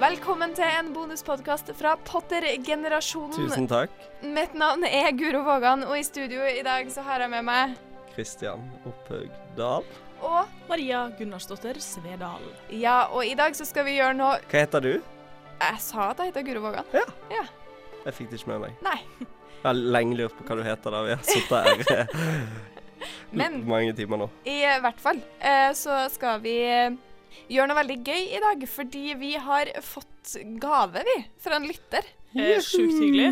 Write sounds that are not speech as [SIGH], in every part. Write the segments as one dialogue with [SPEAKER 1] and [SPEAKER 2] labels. [SPEAKER 1] Velkommen til en bonuspodkast fra Potter-generasjonen.
[SPEAKER 2] Tusen takk,
[SPEAKER 1] Mitt navn er Guro Vågan, og i studio i dag så har jeg med meg
[SPEAKER 2] Kristian Opphaug Dahl.
[SPEAKER 1] Og
[SPEAKER 3] Maria Gunnarsdottir Svedal.
[SPEAKER 1] ja, og i dag så skal vi gjøre noe
[SPEAKER 2] Hva heter du?
[SPEAKER 1] Jeg sa at jeg heter Guro Vågan.
[SPEAKER 2] Jeg fikk det ikke med meg.
[SPEAKER 1] Nei.
[SPEAKER 2] Jeg har lenge lurt på hva du heter da vi har sittet her eh,
[SPEAKER 1] [LAUGHS] Men-
[SPEAKER 2] mange timer nå.
[SPEAKER 1] I hvert fall eh, så skal vi eh, gjøre noe veldig gøy i dag, fordi vi har fått gave, vi, fra en lytter.
[SPEAKER 3] Eh, sjukt hyggelig.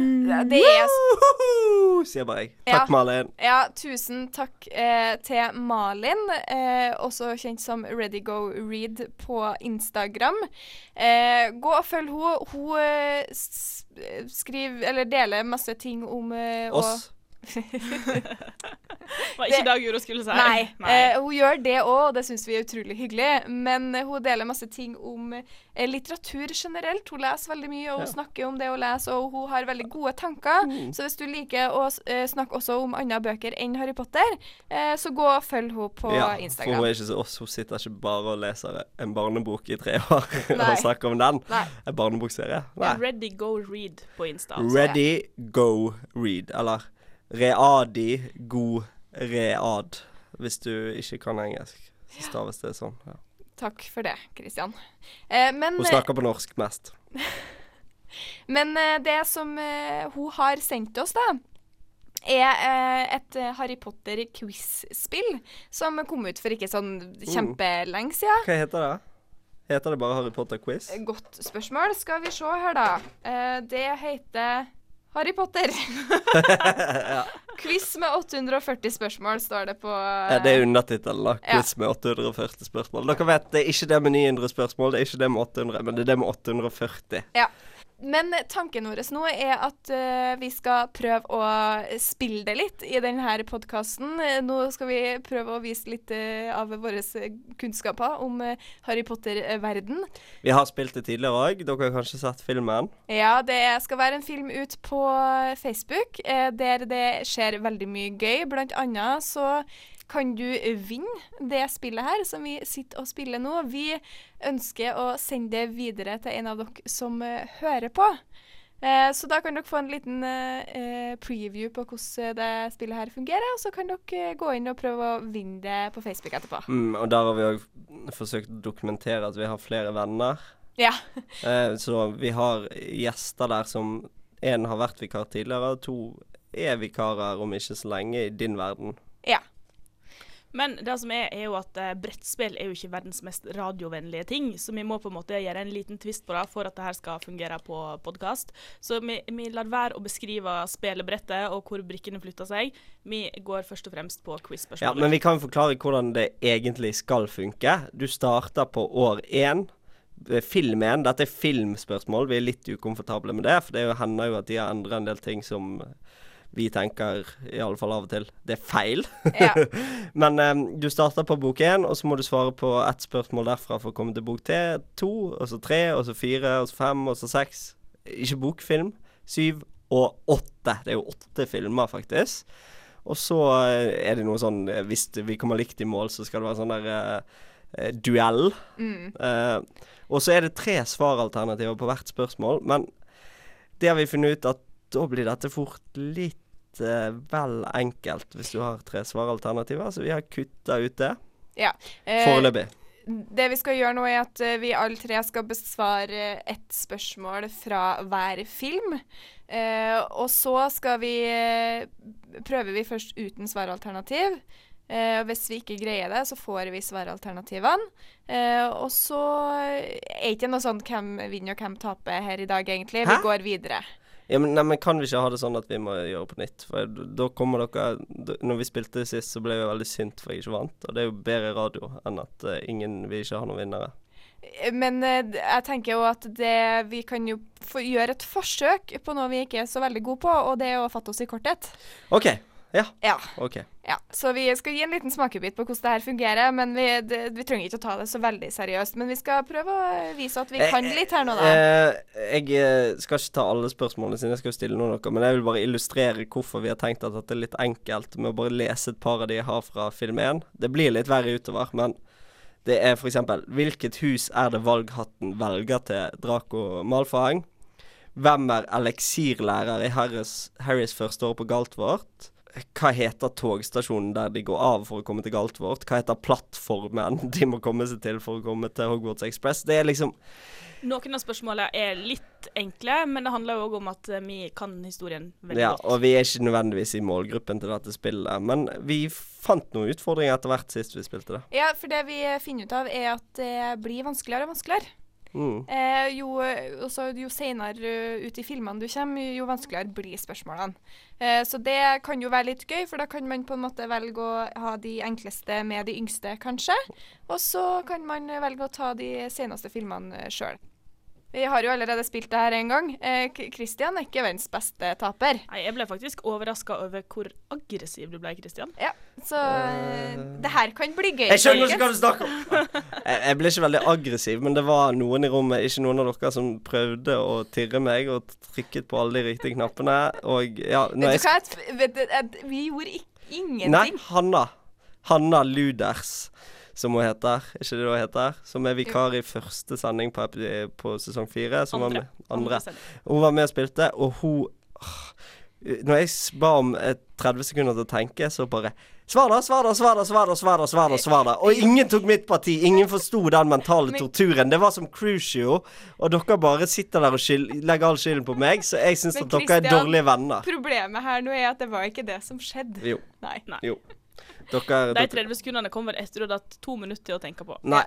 [SPEAKER 1] Det er
[SPEAKER 2] Woohoo! Sier bare jeg.
[SPEAKER 1] Ja.
[SPEAKER 2] Takk, Malin.
[SPEAKER 1] Ja, tusen takk eh, til Malin, eh, også kjent som ReadyGoRead på Instagram. Eh, gå og følg henne. Hun eh, s- skriver, eller deler masse ting om eh, og-
[SPEAKER 2] Oss.
[SPEAKER 3] Var ikke det Guro skulle si.
[SPEAKER 1] Nei. Eh, hun gjør det òg, og det syns vi er utrolig hyggelig. Men eh, hun deler masse ting om eh, litteratur generelt. Hun leser veldig mye, og hun
[SPEAKER 2] Ja. Mm.
[SPEAKER 1] snakker om det hun leser, og hun har veldig gode tanker. Så hvis du liker å eh, snakke også om andre bøker enn Harry Potter, eh, så gå og følg henne på
[SPEAKER 2] Ja, for
[SPEAKER 1] Instagram.
[SPEAKER 2] hun er ikke som oss. Hun sitter ikke bare og leser en barnebok i tre år [LAUGHS]
[SPEAKER 1] Nei.
[SPEAKER 2] og snakker om den.
[SPEAKER 1] Nei.
[SPEAKER 2] En barnebokserie. Nei.
[SPEAKER 3] Ready, go, read på Insta.
[SPEAKER 2] Ready, go, read. Eller readi, go, read. Hvis du ikke kan engelsk, så staves det sånn. Ja.
[SPEAKER 1] Takk for det, Kristian. Eh, men
[SPEAKER 2] Hun snakker på norsk mest.
[SPEAKER 1] men eh, det som eh, hun har sendt oss, da, er eh, et eh, Harry Potter-quiz-spill som kom ut for ikke sånn
[SPEAKER 2] Mm.
[SPEAKER 1] kjempelenge siden.
[SPEAKER 2] Hva heter det? Heter det bare Harry Potter quiz?
[SPEAKER 1] Godt spørsmål. Skal vi se her, da. Eh, det heter Harry
[SPEAKER 2] [LAUGHS]
[SPEAKER 1] Potter. Quiz med 840 spørsmål, står det på
[SPEAKER 2] Ja, Eh, det er undertittelen, da.
[SPEAKER 1] Ja.
[SPEAKER 2] Quiz med 840 spørsmål. Dere vet, det er ikke det med 900 spørsmål, det er ikke det med 800, men det er det med 840.
[SPEAKER 1] Ja. Men tanken vår nå er at eh, vi skal prøve å spille det litt i denne podkasten. Nå skal vi prøve å vise litt eh, av våre kunnskaper om eh, Harry Potter-verden.
[SPEAKER 2] Vi har spilt det tidligere òg. Dere har kanskje sett filmen?
[SPEAKER 1] Ja, det skal være en film ut på Facebook eh, der det skjer veldig mye gøy. Blant annet så kan du vinne det spillet her som vi sitter og spiller nå. Vi ønsker å sende det videre til en av dere som eh, hører på. Eh, Så da kan dere få en liten eh, eh, preview på hvordan eh, det spillet her fungerer, og så kan dere eh, gå inn og prøve å vinne det på Facebook etterpå.
[SPEAKER 2] Mm, og der har vi òg forsøkt å dokumentere at vi har flere venner.
[SPEAKER 1] Ja.
[SPEAKER 2] Eh, så vi har gjester der som én har vært vikar tidligere, og to er vikarer om ikke så lenge i din verden.
[SPEAKER 1] ja.
[SPEAKER 3] Men det som er, er jo at eh, brettspill er jo ikke verdens mest radiovennlige ting, så vi må på en måte gjøre en liten twist på det for at det her skal fungere på podkast. Så vi, vi lar være å beskrive spillebrettet og hvor brikkene flytter seg. Vi går først og fremst på
[SPEAKER 2] Ja, men
[SPEAKER 3] quiz-spørsmålet.
[SPEAKER 2] vi kan forklare hvordan det egentlig skal funke. Du starter på år én. Eh, Film én. Dette er filmspørsmål. Vi er litt ukomfortable med det, for det er jo- hender jo at de har endret en del ting som vi tenker, i alle fall av og til, det er feil.
[SPEAKER 1] ja.
[SPEAKER 2] Men eh, du starter på bok én, og så må du svare på ett spørsmål derfra for å komme til bok te- to, og så tre, og så fire, og så fem, og så seks. Ikke bokfilm. Syv og åtte. Det er jo åtte filmer, faktisk. Og så eh, er det noe sånn eh, Hvis det- vi kommer likt i mål, så skal det være sånn der eh, eh, duell. Eh, og så er det tre svaralternativer på hvert spørsmål, men det har vi funnet ut at da blir dette fort litt eh, vel enkelt hvis du har tre svaralternativer, så vi har kutta ut det
[SPEAKER 1] ja. Eh,
[SPEAKER 2] foreløpig.
[SPEAKER 1] Det vi skal gjøre nå, er at eh, vi alle tre skal besvare ett spørsmål fra hver film. Eh, og så skal vi eh, prøver vi først uten svaralternativ. Eh, og hvis vi ikke greier det, så får vi svaralternativene. Eh, og så er ikke noe sånn hvem vinner og hvem taper her i dag, egentlig.
[SPEAKER 2] Hæ?
[SPEAKER 1] Vi går videre.
[SPEAKER 2] Ja, men, nei, men kan vi ikke ha det sånn at vi må gjøre på nytt? For d- da kommer dere d- Når vi spilte sist, så ble jeg veldig sint for jeg ikke vant, og det er jo bedre radio enn at eh, ingen vi ikke har noen vinnere.
[SPEAKER 1] Eh, Men eh, d- jeg tenker jo at det, vi kan jo få gjøre et forsøk på noe vi ikke er så veldig gode på, og det er å fatte oss i korthet.
[SPEAKER 2] OK. Ja.
[SPEAKER 1] Ja.
[SPEAKER 2] OK.
[SPEAKER 1] Ja, så vi skal gi en liten smakebit på hvordan det her fungerer, men vi, det, vi trenger ikke å ta det så veldig seriøst. Men vi skal prøve å vise at vi kan litt her nå, da.
[SPEAKER 2] Eh, jeg eh, skal ikke ta alle spørsmålene sine, jeg skal jo stille noen av dere. Men jeg vil bare illustrere hvorfor vi har tenkt at dette er litt enkelt med å bare lese et par av de jeg har fra film 1. Det blir litt verre utover, men Det er f.eks.: Hvilket hus er det valghatten velger til Draco Malfang? Hvem er eliksirlærer i Harris, Harrys første år på Galtvort? Hva heter togstasjonen der de går av for å komme til Galtvort? Hva heter plattformen [LAUGHS] de må komme seg til for å komme til Hogwarts Express? Det er liksom
[SPEAKER 3] Noen av spørsmålene er litt enkle, men det handler jo òg om at eh, vi kan historien veldig
[SPEAKER 2] Ja,
[SPEAKER 3] godt.
[SPEAKER 2] og vi er ikke nødvendigvis i målgruppen til dette spillet, men vi fant noen utfordringer etter hvert sist vi spilte det.
[SPEAKER 1] Ja, for det vi finner ut av, er at det blir vanskeligere og vanskeligere.
[SPEAKER 2] Mm.
[SPEAKER 1] Eh, jo også, jo senere eh, ut i filmene du kommer, jo vanskeligere blir spørsmålene. Eh, så det kan jo være litt gøy, for da kan man på en måte velge å ha de enkleste med de yngste, kanskje. Og så kan man eh, velge å ta de seneste filmene sjøl. Vi har jo allerede spilt det her en gang. Eh, K- Christian er ikke verdens beste taper.
[SPEAKER 3] Nei, jeg ble faktisk overraska over hvor aggressiv du ble, Kristian.
[SPEAKER 1] Ja, så eh, det her kan bli gøy.
[SPEAKER 2] Jeg skjønner ikke
[SPEAKER 1] folkens.
[SPEAKER 2] hva du snakker om!
[SPEAKER 1] [LAUGHS]
[SPEAKER 2] Jeg, jeg ble ikke veldig aggressiv, men det var noen i rommet, ikke noen av dere, som prøvde å tirre meg og trykket på alle de riktige knappene, og ja når
[SPEAKER 1] Vet
[SPEAKER 2] jeg
[SPEAKER 1] du hva? At- vet du- at Vi gjorde ik-
[SPEAKER 2] Nei,
[SPEAKER 1] ingenting.
[SPEAKER 2] Hanna. Hanna Luders, som hun heter. Er ikke det hun heter? Som er vikar i første sending på, epi- på sesong fire. Som
[SPEAKER 3] Andre.
[SPEAKER 2] Var med, andre.
[SPEAKER 3] sending.
[SPEAKER 2] Hun var med og spilte, og hun åh, Når jeg s- ba om eh, 30 sekunder til å tenke, så bare Svar da, svar da, svar da, svar da, svar da, svar da, svar da. Og ingen tok mitt parti. Ingen forsto den mentale
[SPEAKER 1] Men-
[SPEAKER 2] torturen. Det var som Crucio, og dere bare sitter der og skyld, legger all skylden på meg, så jeg syns
[SPEAKER 1] Men
[SPEAKER 2] at dere er
[SPEAKER 1] Christian-
[SPEAKER 2] dårlige venner.
[SPEAKER 1] Problemet her nå er at det var ikke det som skjedde.
[SPEAKER 2] Jo.
[SPEAKER 1] Nei.
[SPEAKER 3] Nei.
[SPEAKER 2] Jo. Dere
[SPEAKER 3] De 30 sekundene kommer etter du har hatt to minutter til å tenke på.
[SPEAKER 2] Nei.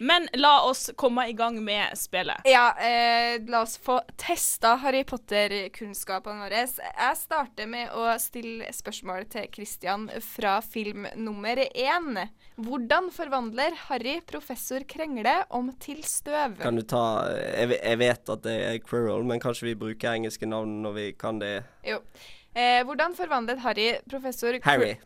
[SPEAKER 3] Men la oss komme i gang med spillet.
[SPEAKER 1] Ja, eh, la oss få testa Harry Potter-kunnskapene våre. Jeg starter med å stille spørsmål til Christian fra film nummer én. Hvordan forvandler Harry professor Krengle om til støv?
[SPEAKER 2] Kan du ta Jeg, ve- jeg vet at det er Quirrell, men kanskje vi bruker engelske navn når vi kan det
[SPEAKER 1] Jo. Eh, hvordan forvandlet Harry professor Kr-
[SPEAKER 2] Harry.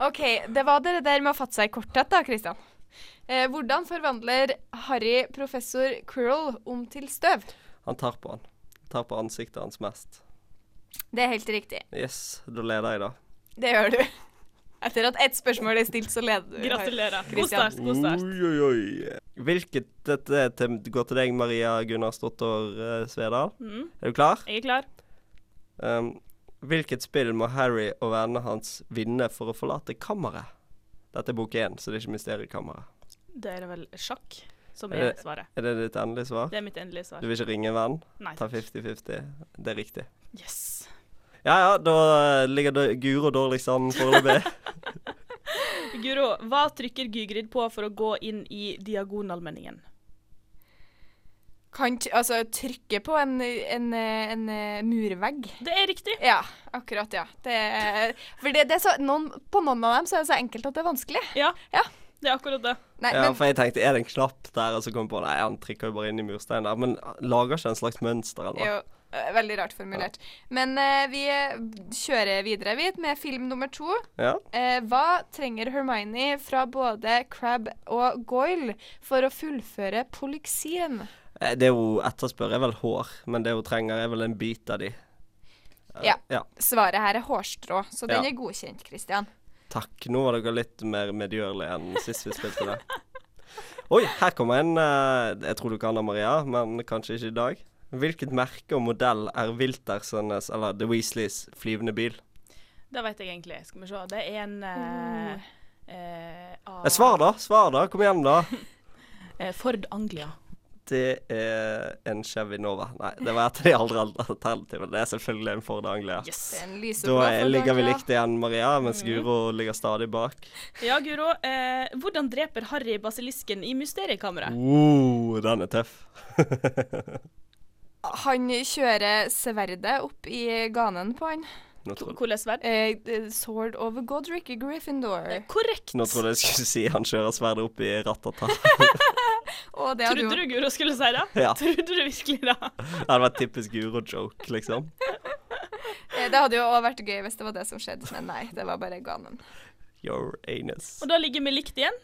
[SPEAKER 1] OK, det var det der med å fatte seg i korthet, da, Christian. Eh, hvordan forvandler Harry professor Quirrell om til støv?
[SPEAKER 2] Han tar på han. Tar på ansiktet hans mest.
[SPEAKER 1] Det er helt riktig.
[SPEAKER 2] Yes, da leder jeg, da.
[SPEAKER 1] Det gjør du. [LAUGHS] Etter at ett spørsmål er stilt, så leder du.
[SPEAKER 3] Gratulerer. God
[SPEAKER 1] Christian.
[SPEAKER 3] start. god start.
[SPEAKER 2] Oi, oi, oi. Hvilket dette er til, går til deg, Maria Gunnarsdottir eh, Svedal.
[SPEAKER 3] Mm,
[SPEAKER 2] Er du klar?
[SPEAKER 3] jeg er klar.
[SPEAKER 2] Um, hvilket spill må Harry og vennene hans vinne for å forlate kammeret? Dette er bok én, så det er ikke Mysteriekammeret.
[SPEAKER 3] Da er det vel sjakk som
[SPEAKER 2] Er
[SPEAKER 3] er
[SPEAKER 2] det-
[SPEAKER 3] svaret.
[SPEAKER 2] Er det ditt endelige svar?
[SPEAKER 3] Det er mitt endelige
[SPEAKER 2] Du
[SPEAKER 3] svar.
[SPEAKER 2] vil ikke ringe en venn?
[SPEAKER 3] Nei.
[SPEAKER 2] Ta 50-50. Det er riktig.
[SPEAKER 3] Yes.
[SPEAKER 2] Ja ja, da eh, ligger det Guro dårligst an
[SPEAKER 1] [LAUGHS]
[SPEAKER 2] foreløpig.
[SPEAKER 3] Guro, hva trykker Gygrid på for å gå inn i diagonalmenningen?
[SPEAKER 1] Kan t altså trykke på en, en, en eh, murvegg.
[SPEAKER 3] Det er riktig.
[SPEAKER 1] Ja, akkurat, ja. Det er, for det, det er så, noen, på noen av dem så er det så enkelt at det er vanskelig.
[SPEAKER 3] Ja,
[SPEAKER 1] Ja.
[SPEAKER 3] det er akkurat det.
[SPEAKER 1] Nei,
[SPEAKER 2] Ja,
[SPEAKER 1] men
[SPEAKER 2] for jeg tenkte, er det en knapp der? Og så kom jeg på, nei, han trykker jo bare inn i mursteinen der. Men lager ikke en slags
[SPEAKER 1] det er
[SPEAKER 2] mønster eller noe?
[SPEAKER 1] jo eh, veldig rart formulert. Men eh, vi eh, kjører videre, vi, med film nummer to.
[SPEAKER 2] Ja.
[SPEAKER 1] Eh, hva trenger Hermione fra både Crab og Goyle for å fullføre polyksien?
[SPEAKER 2] Eh, Det hun etterspør, er vel hår, men det hun trenger, er vel en bit av de. Eh,
[SPEAKER 1] Ja.
[SPEAKER 2] ja.
[SPEAKER 1] Svaret her er hårstrå, så den
[SPEAKER 2] Ja.
[SPEAKER 1] er godkjent, Christian.
[SPEAKER 2] Takk. Nå var dere litt mer medgjørlige enn sist vi spilte det. Oi, her kommer en eh, Jeg tror du kan det, Maria, men kanskje ikke i dag. Hvilket merke og modell er Wiltersenes, eller The Weasleys, flyvende bil? Eh,
[SPEAKER 3] Det vet jeg egentlig. Skal vi se. Det er en eh, eh, av-
[SPEAKER 2] Eh, Svar, da! Svar, da! Kom igjen, da!
[SPEAKER 3] Eh, Ford Anglia.
[SPEAKER 2] Det er en Chevy Nova. Nei, det var et av de andre alternativene. Det er selvfølgelig en Ford Anglia.
[SPEAKER 1] Det
[SPEAKER 3] Yes.
[SPEAKER 1] er en
[SPEAKER 2] Da
[SPEAKER 1] lyseblå
[SPEAKER 2] er- ligger vi
[SPEAKER 1] fordanger.
[SPEAKER 2] likt igjen, Maria,
[SPEAKER 1] Mhm.
[SPEAKER 2] mens Guro ligger stadig bak.
[SPEAKER 3] Ja, Guro. Eh, hvordan dreper Harry basilisken i Mysteriekammeret?
[SPEAKER 2] Oh, den er tøff.
[SPEAKER 1] Han kjører sverdet opp i ganen på han.
[SPEAKER 2] Nå trodde
[SPEAKER 3] Hvordan sverd?
[SPEAKER 1] Eh, eh, sword of Godric i Gryffindor.
[SPEAKER 3] Eh, Korrekt.
[SPEAKER 2] nå trodde jeg skulle si han kjører sverdet opp i ratata. [LAUGHS]
[SPEAKER 1] Og det hadde jo
[SPEAKER 3] Trodde du Guro skulle si det?
[SPEAKER 2] Ja, det
[SPEAKER 3] Trodde du virkelig det?
[SPEAKER 2] hadde vært typisk Guro-joke, liksom.
[SPEAKER 1] eh, det hadde jo også vært gøy hvis det var det som skjedde, men nei, det var bare ganen.
[SPEAKER 2] Your anus.
[SPEAKER 3] Og da ligger vi likt igjen.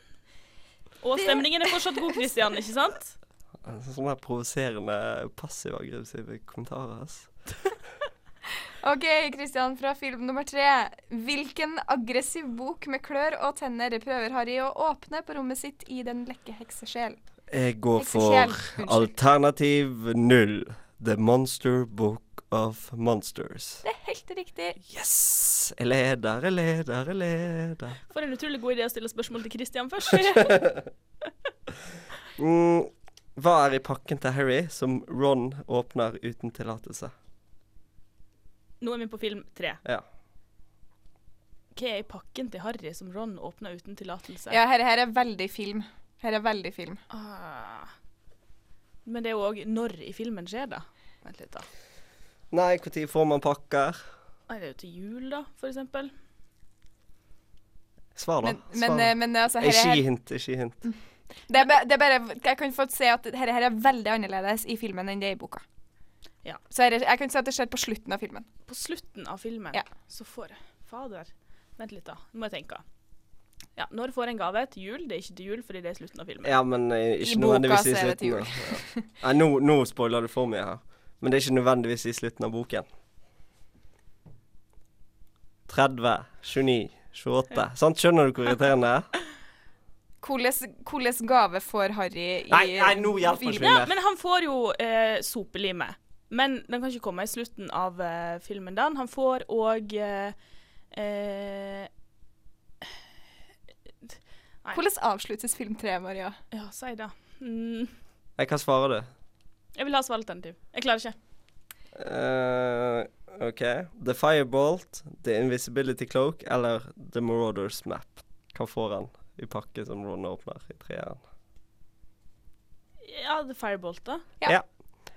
[SPEAKER 3] Og stemningen er fortsatt god, Kristian, ikke sant?
[SPEAKER 2] Sånn Sånne her provoserende passiv-aggressive kommentarer. ass.
[SPEAKER 1] OK, Kristian, fra film nummer tre. Hvilken aggressiv bok med klør og tenner prøver Harry å åpne på rommet sitt i Den lekke heksesjel?
[SPEAKER 2] Jeg går
[SPEAKER 1] Heksesjel,
[SPEAKER 2] for
[SPEAKER 1] unnskyld.
[SPEAKER 2] alternativ null. The Monster Book of Monsters.
[SPEAKER 1] Det er helt riktig.
[SPEAKER 2] Yes! Jeg leder, jeg leder, jeg leder.
[SPEAKER 3] For en utrolig god idé å stille spørsmål til Christian
[SPEAKER 2] [LAUGHS]
[SPEAKER 3] først.
[SPEAKER 2] Mm, hva er i pakken til Harry som Ron åpner uten tillatelse?
[SPEAKER 3] Nå er vi på film tre.
[SPEAKER 2] Ja.
[SPEAKER 3] Hva er i pakken til Harry som Ron åpna uten tillatelse?
[SPEAKER 1] Ja, her, her er veldig film. Her er veldig film.
[SPEAKER 3] Ah. Men det er jo òg når i filmen skjer, da. Vent litt, da.
[SPEAKER 2] Nei, når får man pakker?
[SPEAKER 3] Nei, det er jo til jul, da, for eksempel.
[SPEAKER 2] Svar, da.
[SPEAKER 1] Men, men,
[SPEAKER 2] Svar da.
[SPEAKER 1] eh, men altså, her, Mm.
[SPEAKER 2] Ikke
[SPEAKER 1] her,
[SPEAKER 2] gi hint, ikke gi hint.
[SPEAKER 1] det, er, ba- det er bare Jeg kan få si at her, her er veldig annerledes i filmen enn det er i boka.
[SPEAKER 3] Ja.
[SPEAKER 1] Så her, er- jeg kan si at det skjer på slutten av filmen.
[SPEAKER 3] På slutten av filmen
[SPEAKER 1] Ja.
[SPEAKER 3] så får jeg Fader. Vent litt, da. Nå må jeg tenke. Ja, når får jeg en gave? Til jul? Det er ikke til jul fordi det er slutten av filmen.
[SPEAKER 2] Ja, men eh,
[SPEAKER 1] I
[SPEAKER 2] ikke
[SPEAKER 1] boka
[SPEAKER 2] nødvendigvis i
[SPEAKER 1] så er det til
[SPEAKER 2] slutten. da.
[SPEAKER 1] [LAUGHS]
[SPEAKER 2] Ja. Nei, nå, nå spoiler du for mye her. Men det er ikke nødvendigvis i slutten av boken. 30, 29, 28. Sant? Skjønner du hvor irriterende det er?
[SPEAKER 1] Hvordan hvordan gave får Harry i
[SPEAKER 2] Nei, nei, nå hjelper
[SPEAKER 1] filmen?
[SPEAKER 2] ikke
[SPEAKER 3] Ja, men han får jo eh, sopelime. Men den kan ikke komme i slutten av eh, filmen. da. Han får òg eh, eh,
[SPEAKER 1] Hvordan avsluttes film tre, Maria?
[SPEAKER 3] Ja, si det. Mm,
[SPEAKER 2] Nei, hva svarer du?
[SPEAKER 3] jeg vil ha svaralternativ. Jeg klarer ikke.
[SPEAKER 2] Eh, OK. The Firebolt, The Invisibility Cloak eller The Marauders Map. Hva får han i pakke som Ron åpner i treeren?
[SPEAKER 3] Ja, The Firebolt, da.
[SPEAKER 1] Ja.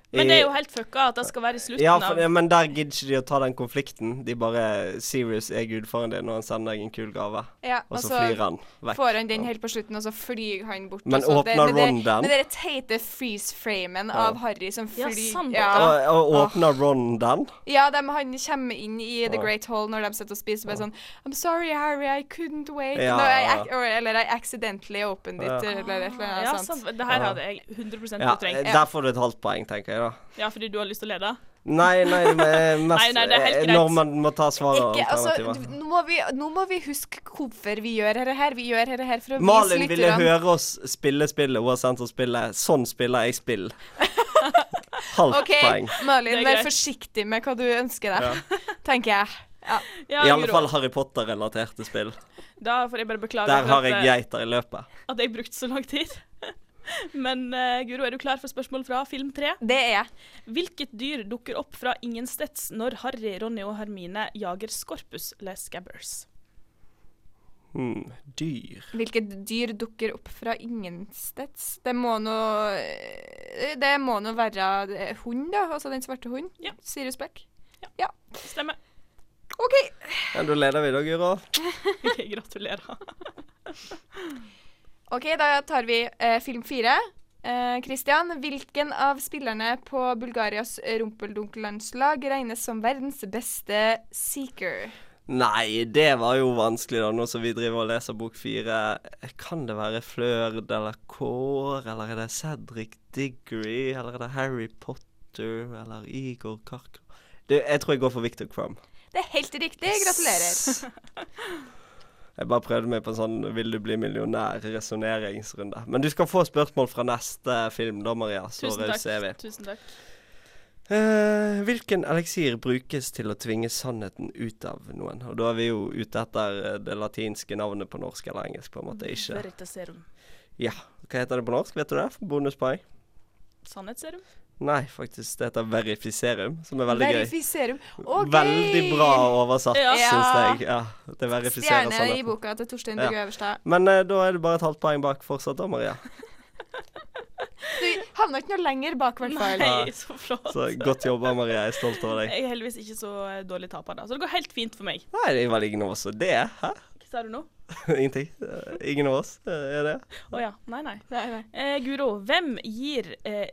[SPEAKER 3] Men det er jo helt fucka at det skal være i slutten
[SPEAKER 2] Eh, ja, for,
[SPEAKER 3] av
[SPEAKER 2] ja, men der gidder ikke de å ta den konflikten. De bare Serious er gudfaren din, og han sender deg en kul gave.
[SPEAKER 1] Ja, altså,
[SPEAKER 2] Og
[SPEAKER 3] Altså,
[SPEAKER 2] så flyr han vekk.
[SPEAKER 1] Får han den helt på slutten, og så flyr han bort.
[SPEAKER 2] Men
[SPEAKER 1] og så
[SPEAKER 2] åpner
[SPEAKER 1] med det-
[SPEAKER 2] Ron den?
[SPEAKER 1] Med den teite freeze-framen av Harry som
[SPEAKER 3] Ja,
[SPEAKER 1] flyr
[SPEAKER 3] sant,
[SPEAKER 1] ja.
[SPEAKER 2] Og, og åpner Ron den?
[SPEAKER 1] Ja, dem- han kommer inn i The
[SPEAKER 2] Ja.
[SPEAKER 1] Great Hall når de sitter og spiser, og bare sånn I'm sorry, Harry, I couldn't wait.
[SPEAKER 2] Ja.
[SPEAKER 1] No, I, ac- or, eller I accidentally opened it,
[SPEAKER 2] Ja.
[SPEAKER 1] eller et eller annet
[SPEAKER 3] Ja, sånn. sant.
[SPEAKER 1] sånt.
[SPEAKER 3] Det her hadde jeg 100
[SPEAKER 2] Ja, eh,
[SPEAKER 3] fortrengt.
[SPEAKER 2] Der får du et halvt poeng, tenker jeg, da.
[SPEAKER 3] Ja, fordi du har lyst til å lede?
[SPEAKER 2] Nei, nei, det
[SPEAKER 3] [LAUGHS]
[SPEAKER 2] er mest
[SPEAKER 3] Nei, nei, det er helt
[SPEAKER 2] eh,
[SPEAKER 3] greit.
[SPEAKER 2] Når man må ta svaret og
[SPEAKER 1] Ikke, altså,
[SPEAKER 2] alternativer.
[SPEAKER 1] d- nå, må vi, nå må vi huske hvorfor vi gjør dette her. Vi gjør dette her for å
[SPEAKER 2] Malin
[SPEAKER 1] vise
[SPEAKER 2] ville
[SPEAKER 1] lytterne
[SPEAKER 2] høre oss spille spillet hun har sendt oss spillet. Sånn spiller jeg spill.
[SPEAKER 3] [LAUGHS]
[SPEAKER 2] Halvt
[SPEAKER 1] OK,
[SPEAKER 2] poeng.
[SPEAKER 1] Malin,
[SPEAKER 3] Det er
[SPEAKER 1] vær
[SPEAKER 3] greit.
[SPEAKER 1] forsiktig med hva du ønsker deg, [LAUGHS] tenker jeg. Ja.
[SPEAKER 3] Ja,
[SPEAKER 2] I alle
[SPEAKER 3] Guro.
[SPEAKER 2] fall Harry Potter-relaterte spill.
[SPEAKER 3] Da får jeg bare beklage
[SPEAKER 2] Der
[SPEAKER 3] for
[SPEAKER 2] har
[SPEAKER 3] at,
[SPEAKER 2] jeg
[SPEAKER 3] eh,
[SPEAKER 2] geiter i løpet.
[SPEAKER 3] at jeg brukte så lang tid. [LAUGHS] Men eh, Guro, er du klar for spørsmål fra film tre?
[SPEAKER 1] Det er jeg.
[SPEAKER 3] Hvilket dyr dukker opp fra ingensteds når Harry, Ronny og Hermine jager Scorpus eller Scabbers?
[SPEAKER 2] Hmm, dyr
[SPEAKER 1] Hvilket dyr dukker opp fra ingensteds? Det må nå Det må nå være eh, hund, da. Altså den svarte hunden.
[SPEAKER 3] Ja.
[SPEAKER 1] Sirius Black. [LAUGHS]
[SPEAKER 3] Stemmer.
[SPEAKER 1] OK.
[SPEAKER 2] ja, Da leder vi, da, Guro.
[SPEAKER 3] Ok, Gratulerer.
[SPEAKER 1] Ok, Da tar vi eh, film fire. Eh, Christian, hvilken av spillerne på Bulgarias rumpeldunkelandslag regnes som verdens beste seeker?
[SPEAKER 2] Nei, det var jo vanskelig, da, nå som vi driver og leser bok fire. Kan det være Flørd eller Kår, eller er det Cedric Diggory, eller er det Harry Potter, eller Igor Kark... Du, jeg tror jeg går for Victor Crumb.
[SPEAKER 1] Det er helt riktig. Gratulerer.
[SPEAKER 2] Jeg bare prøvde meg på en sånn vil du bli millionær-resonneringsrunde. Men du skal få spørsmål fra neste film da, Maria. Så
[SPEAKER 3] Tusen
[SPEAKER 2] rause er vi.
[SPEAKER 3] takk. Tusen takk.
[SPEAKER 2] Eh, hvilken eliksir brukes til å tvinge sannheten ut av noen? Og da er vi jo ute etter eh, det latinske navnet på norsk eller engelsk, på en måte. Ikke
[SPEAKER 3] Veritaserum.
[SPEAKER 2] Ja. Hva heter det på norsk? Vet du det? Bonuspoeng?
[SPEAKER 3] Sannhetsserum?
[SPEAKER 2] Nei, faktisk. Det heter verifiserum, som er [LAUGHS] veldig gøy.
[SPEAKER 1] Verifiserum. OK.
[SPEAKER 2] Veldig bra oversatt,
[SPEAKER 3] Ja.
[SPEAKER 2] syns jeg. Ja, det verifiserer
[SPEAKER 1] Stjerne i
[SPEAKER 2] sannheten.
[SPEAKER 1] boka til Torstein
[SPEAKER 2] Ja.
[SPEAKER 1] Bugge Øverstad.
[SPEAKER 2] Men eh, da er det bare et halvt poeng bak fortsatt da, Maria.
[SPEAKER 1] Du havna ikke noe lenger bak, i hvert fall.
[SPEAKER 3] Nei, så
[SPEAKER 1] [LAUGHS]
[SPEAKER 3] flott.
[SPEAKER 2] Så godt jobba, Maria. Jeg er stolt over deg.
[SPEAKER 3] Jeg er heldigvis ikke så eh, dårlig taper, da. Så det går helt fint for meg.
[SPEAKER 2] Nei, det er vel ingen av oss som det. Hæ? [LAUGHS]
[SPEAKER 3] Hva sa du nå?
[SPEAKER 2] Ingenting. Eh, Ingen av oss eh, er det.
[SPEAKER 3] Å ja. Nei, nei.
[SPEAKER 1] Nei, nei.
[SPEAKER 3] Eh, Guro, hvem gir eh,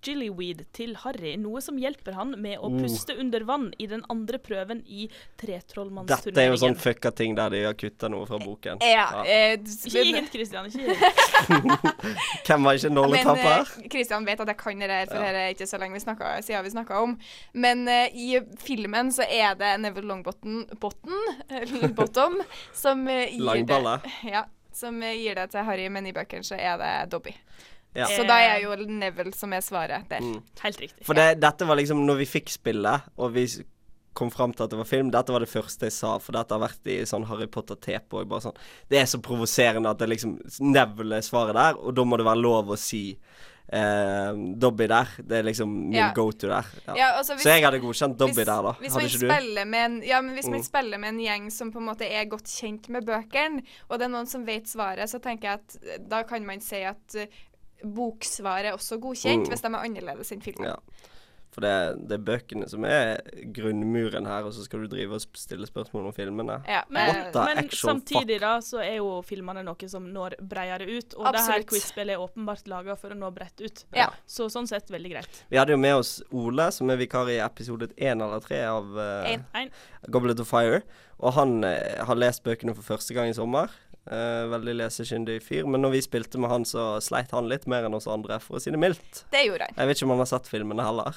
[SPEAKER 3] gillyweed til Harry, noe som hjelper han med å
[SPEAKER 2] Oh.
[SPEAKER 3] puste under vann i den andre prøven
[SPEAKER 2] Dette er
[SPEAKER 3] i
[SPEAKER 2] jo sånn
[SPEAKER 3] tretrollmannsturneringen.
[SPEAKER 2] fucka ting der de har kutta noe fra boken.
[SPEAKER 1] Ja. eh,
[SPEAKER 3] Ikke gi
[SPEAKER 1] du-
[SPEAKER 3] hint, Christian. Ikke gi hint.
[SPEAKER 2] Hvem var ikke
[SPEAKER 1] Men
[SPEAKER 2] nolletapper?
[SPEAKER 1] eh, Christian vet at jeg kan det her, for
[SPEAKER 2] Ja.
[SPEAKER 1] det er ikke så lenge vi snakket, siden vi snakka om. Men eh, i filmen så er det Neville Longbottom [LAUGHS] botten, eller bottom, som eh, gir
[SPEAKER 2] Langballe.
[SPEAKER 1] det. [LAUGHS] Ja, som eh, gir det til Harry, men i bøkene så er det Dobby.
[SPEAKER 2] Ja.
[SPEAKER 1] Så da er jo Neville som er svaret der.
[SPEAKER 2] Mm.
[SPEAKER 3] Helt riktig.
[SPEAKER 2] For det, dette var liksom når vi fikk spillet, og vi s- kom fram til at det var film, dette var det første jeg sa, for dette har vært i sånn Harry Potter-tape og jeg bare sånn Det er så provoserende at det liksom Neville er svaret der, og da må det være lov å si eh, Dobby der. Det er liksom min
[SPEAKER 1] Ja.
[SPEAKER 2] go to der. Ja.
[SPEAKER 1] Ja, altså, hvis-
[SPEAKER 2] så jeg hadde godkjent Dobby
[SPEAKER 1] hvis,
[SPEAKER 2] der, da.
[SPEAKER 1] Hvis man
[SPEAKER 2] Hadde ikke du?
[SPEAKER 1] spiller med en, ja, men hvis man
[SPEAKER 2] Mm.
[SPEAKER 1] spiller med en gjeng som på en måte er godt kjent med bøkene, og det er noen som vet svaret, så tenker jeg at eh, da kan man si at eh, boksvaret er også godkjent,
[SPEAKER 2] Mm.
[SPEAKER 1] hvis de er annerledes enn filmen.
[SPEAKER 2] Ja. For det, det er bøkene som er grunnmuren her, og så skal du drive og sp- stille spørsmål om filmene.
[SPEAKER 1] Ja,
[SPEAKER 3] Men,
[SPEAKER 1] eh,
[SPEAKER 2] the
[SPEAKER 3] men
[SPEAKER 2] actual
[SPEAKER 3] samtidig da, så er jo filmene noe som når bredere ut. Og det her
[SPEAKER 1] Absolutt.
[SPEAKER 3] quizspillet er åpenbart laga for å nå bredt ut.
[SPEAKER 1] Ja.
[SPEAKER 3] Så sånn sett veldig greit.
[SPEAKER 2] Vi hadde jo med oss Ole, som er vikar i episode én eller tre av eh,
[SPEAKER 1] En.
[SPEAKER 3] En.
[SPEAKER 2] Goblet of Fire. Og han eh, har lest bøkene for første gang i sommer. Eh, veldig lesekyndig fyr. Men når vi spilte med han, så sleit han litt mer enn oss andre, for å si det mildt.
[SPEAKER 1] det gjorde han.
[SPEAKER 2] Jeg vet ikke om han har sett filmene heller.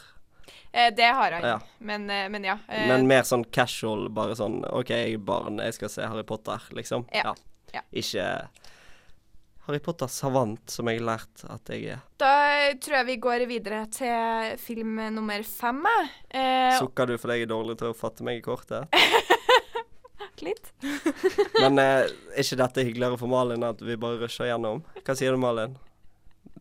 [SPEAKER 1] Eh, det har han.
[SPEAKER 2] Ja.
[SPEAKER 1] Men, eh, men ja. eh,
[SPEAKER 2] Men mer sånn casual, bare sånn OK, jeg er barn, jeg skal se Harry Potter, liksom.
[SPEAKER 1] Ja. Ja.
[SPEAKER 2] Ikke Harry Potter savant, som jeg har lært at jeg er.
[SPEAKER 1] Da tror jeg vi går videre til film nummer fem. jeg. Eh,
[SPEAKER 2] Sukker du fordi jeg er dårlig til å fatte meg i kortet?
[SPEAKER 1] litt.
[SPEAKER 2] Men eh, er ikke dette hyggeligere for Malin at vi bare rusher gjennom? Hva sier du, Malin?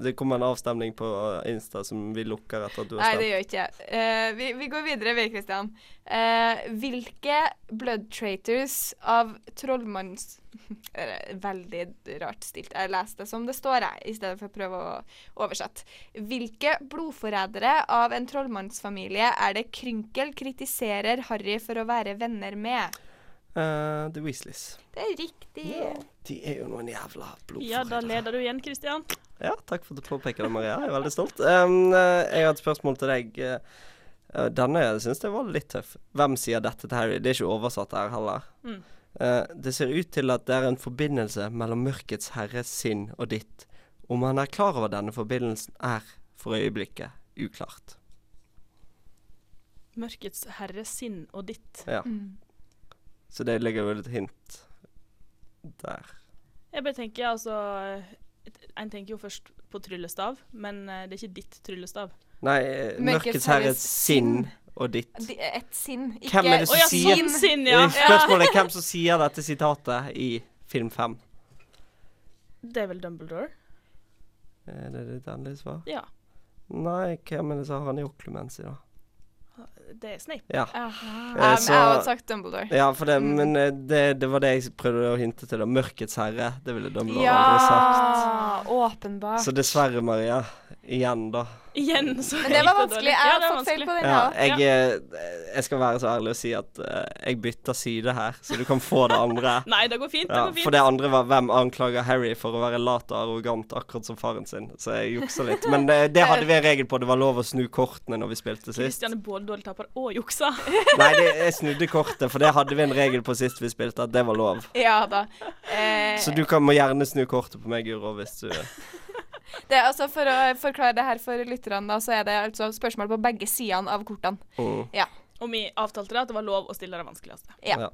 [SPEAKER 2] Det kommer en avstemning på eh, Insta som vi lukker etter at du
[SPEAKER 1] Nei, det
[SPEAKER 2] har stemt.
[SPEAKER 1] gjør ikke jeg. Eh, vi, vi går videre, vi, Kristian. Eh, hvilke blood traitors av trollmanns... [LAUGHS] Eh, Veldig rart stilt. Jeg leser det som det står, jeg, i stedet for å prøve å oversette. Hvilke blodforrædere av en trollmannsfamilie er det Krynkel kritiserer Harry for å være venner med?
[SPEAKER 2] Eh, The Weasleys.
[SPEAKER 1] Det er riktig.
[SPEAKER 2] De er jo noen jævla blodforrædere.
[SPEAKER 3] Ja, da leder du igjen, Christian.
[SPEAKER 2] Ja, takk for at du påpeker det, Maria. Jeg er veldig stolt. Um, eh, jeg har et spørsmål til deg. eh, eh, Denne syns jeg var litt tøff. Hvem sier dette til Harry? Det er ikke oversatt her heller.
[SPEAKER 3] Mm.
[SPEAKER 2] Eh, det ser ut til at det er en forbindelse mellom Mørkets herres sinn og ditt. Om han er klar over denne forbindelsen, er for øyeblikket uklart.
[SPEAKER 3] Mørkets herre sinn og ditt.
[SPEAKER 2] Ja.
[SPEAKER 1] Mm.
[SPEAKER 2] Så det ligger jo et hint der.
[SPEAKER 3] Jeg bare tenker altså eh, En tenker jo først på tryllestav, men eh, det er ikke ditt tryllestav.
[SPEAKER 2] Nei, eh,
[SPEAKER 1] Mørkets
[SPEAKER 2] Mørkets
[SPEAKER 1] herres
[SPEAKER 2] herres sinn
[SPEAKER 1] sinn.
[SPEAKER 2] og ditt.
[SPEAKER 1] De- Et sinn. Ikke
[SPEAKER 2] Hvem er det
[SPEAKER 3] Å
[SPEAKER 2] som
[SPEAKER 3] ja,
[SPEAKER 2] sier-
[SPEAKER 3] sånn sinn, ja!
[SPEAKER 2] Spørsmålet er hvem som sier dette sitatet i film fem.
[SPEAKER 3] Det er vel Dumbledore?
[SPEAKER 2] Er Eh, det ditt endelige svar?
[SPEAKER 3] Ja.
[SPEAKER 2] Nei, hvem er det som har han i oklemens i, da?
[SPEAKER 3] Det er Snape.
[SPEAKER 2] Ja.
[SPEAKER 1] Um,
[SPEAKER 2] Eh,
[SPEAKER 1] jeg hadde
[SPEAKER 2] så-
[SPEAKER 1] sagt Dumbledore.
[SPEAKER 2] ja, for det, men eh, det, det var det jeg prøvde å hinte til. da. Mørkets herre. Det ville Dumbledore aldri
[SPEAKER 1] Ja,
[SPEAKER 2] sagt.
[SPEAKER 1] åpenbart.
[SPEAKER 2] Så dessverre, Maria. Igjen, da.
[SPEAKER 3] Igjen, så
[SPEAKER 1] Men det var
[SPEAKER 3] gikk
[SPEAKER 1] vanskelig.
[SPEAKER 3] dårlig.
[SPEAKER 1] Jeg
[SPEAKER 3] Ja,
[SPEAKER 1] har
[SPEAKER 3] det var
[SPEAKER 1] fått feil
[SPEAKER 3] vanskelig.
[SPEAKER 1] på den,
[SPEAKER 2] Ja,
[SPEAKER 1] jeg òg.
[SPEAKER 2] jeg, eh, jeg skal være så ærlig å si at eh, jeg bytter side her, så du kan få det andre.
[SPEAKER 3] Nei, det går fint. Det
[SPEAKER 2] Ja,
[SPEAKER 3] går fint.
[SPEAKER 2] for det andre var hvem anklager Harry for å være lat og arrogant, akkurat som faren sin. Så jeg juksa litt. Men eh, det hadde vi en regel på. Det var lov å snu kortene når vi spilte sist.
[SPEAKER 3] Christian er både dårlig taper og juksa.
[SPEAKER 2] Nei, det, jeg snudde kortet, for det hadde vi en regel på sist vi spilte, at det var lov.
[SPEAKER 1] Ja da. Eh,
[SPEAKER 2] Så du kan, må gjerne snu kortet på meg, Guro, hvis du
[SPEAKER 1] Det er altså For å forklare det her for lytterne, da, så er det altså spørsmål på begge sidene av kortene.
[SPEAKER 2] Mm.
[SPEAKER 1] Ja.
[SPEAKER 3] [LAUGHS] Og vi avtalte det at det var lov å stille det vanskeligste.
[SPEAKER 1] Ja.
[SPEAKER 2] Ja.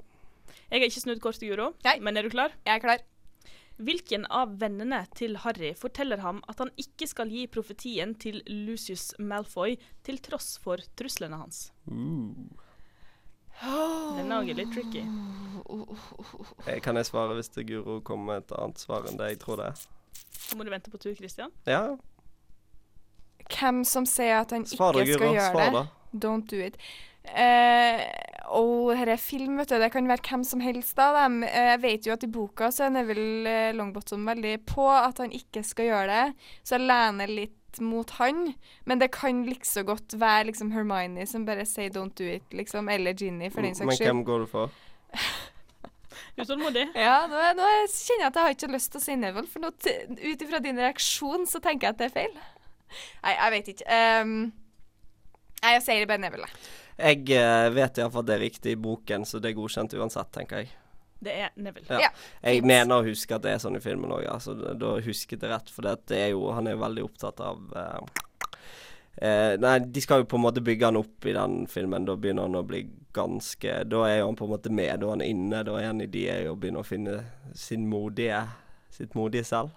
[SPEAKER 3] Jeg har ikke snudd kortet, Guro,
[SPEAKER 1] Nei.
[SPEAKER 3] men er du klar?
[SPEAKER 1] Jeg er klar.
[SPEAKER 3] Hvilken av vennene til Harry forteller ham at han ikke skal gi profetien til Lucius Malfoy til tross for truslene hans? Den er også litt tricky.
[SPEAKER 2] Eh, Kan jeg svare hvis det Guro kommer med et annet svar enn det jeg tror det er?
[SPEAKER 3] Så må du vente på tur, Christian.
[SPEAKER 2] Ja,
[SPEAKER 1] Hvem som sier at han
[SPEAKER 2] svar da,
[SPEAKER 1] ikke skal
[SPEAKER 2] Guro.
[SPEAKER 1] gjøre
[SPEAKER 2] Svar,
[SPEAKER 1] det?
[SPEAKER 2] da.
[SPEAKER 1] Don't do it. Eh, og dette er film, vet du. Det kan være hvem som helst av dem. Eh, Jeg vet jo at i boka så er Neville eh, Longbottom veldig på at han ikke skal gjøre det, så jeg lener litt mot han. Men det kan likså godt være liksom Hermione som bare sier 'don't do it', liksom. Eller Ginny, for den
[SPEAKER 2] Men
[SPEAKER 1] saks skyld.
[SPEAKER 2] hvem går du for?
[SPEAKER 3] Utålmodig.
[SPEAKER 1] Ja, nå, er- nå er- kjenner jeg at jeg har ikke lyst til å si Neville, for nå t- ut ifra din reaksjon så tenker jeg at det er feil. Nei, jeg vet ikke. Ehm, nei, jeg sier Ben Neville. jeg.
[SPEAKER 2] Jeg eh, vet iallfall det er riktig i boken, så det er godkjent uansett, tenker jeg.
[SPEAKER 3] Det er Neville.
[SPEAKER 2] Ja.
[SPEAKER 1] Ja.
[SPEAKER 2] Jeg
[SPEAKER 1] Fint.
[SPEAKER 2] mener å huske at det er sånn i filmen òg, altså, da- da husket jeg rett. For det at det er jo, han er jo veldig opptatt av eh, eh, Nei, de skal jo på en måte bygge han opp i den filmen. Da begynner han å bli ganske Da er jo han på en måte med, da er han inne. Da er han i de er jo begynner å finne sin modige, sitt modige selv.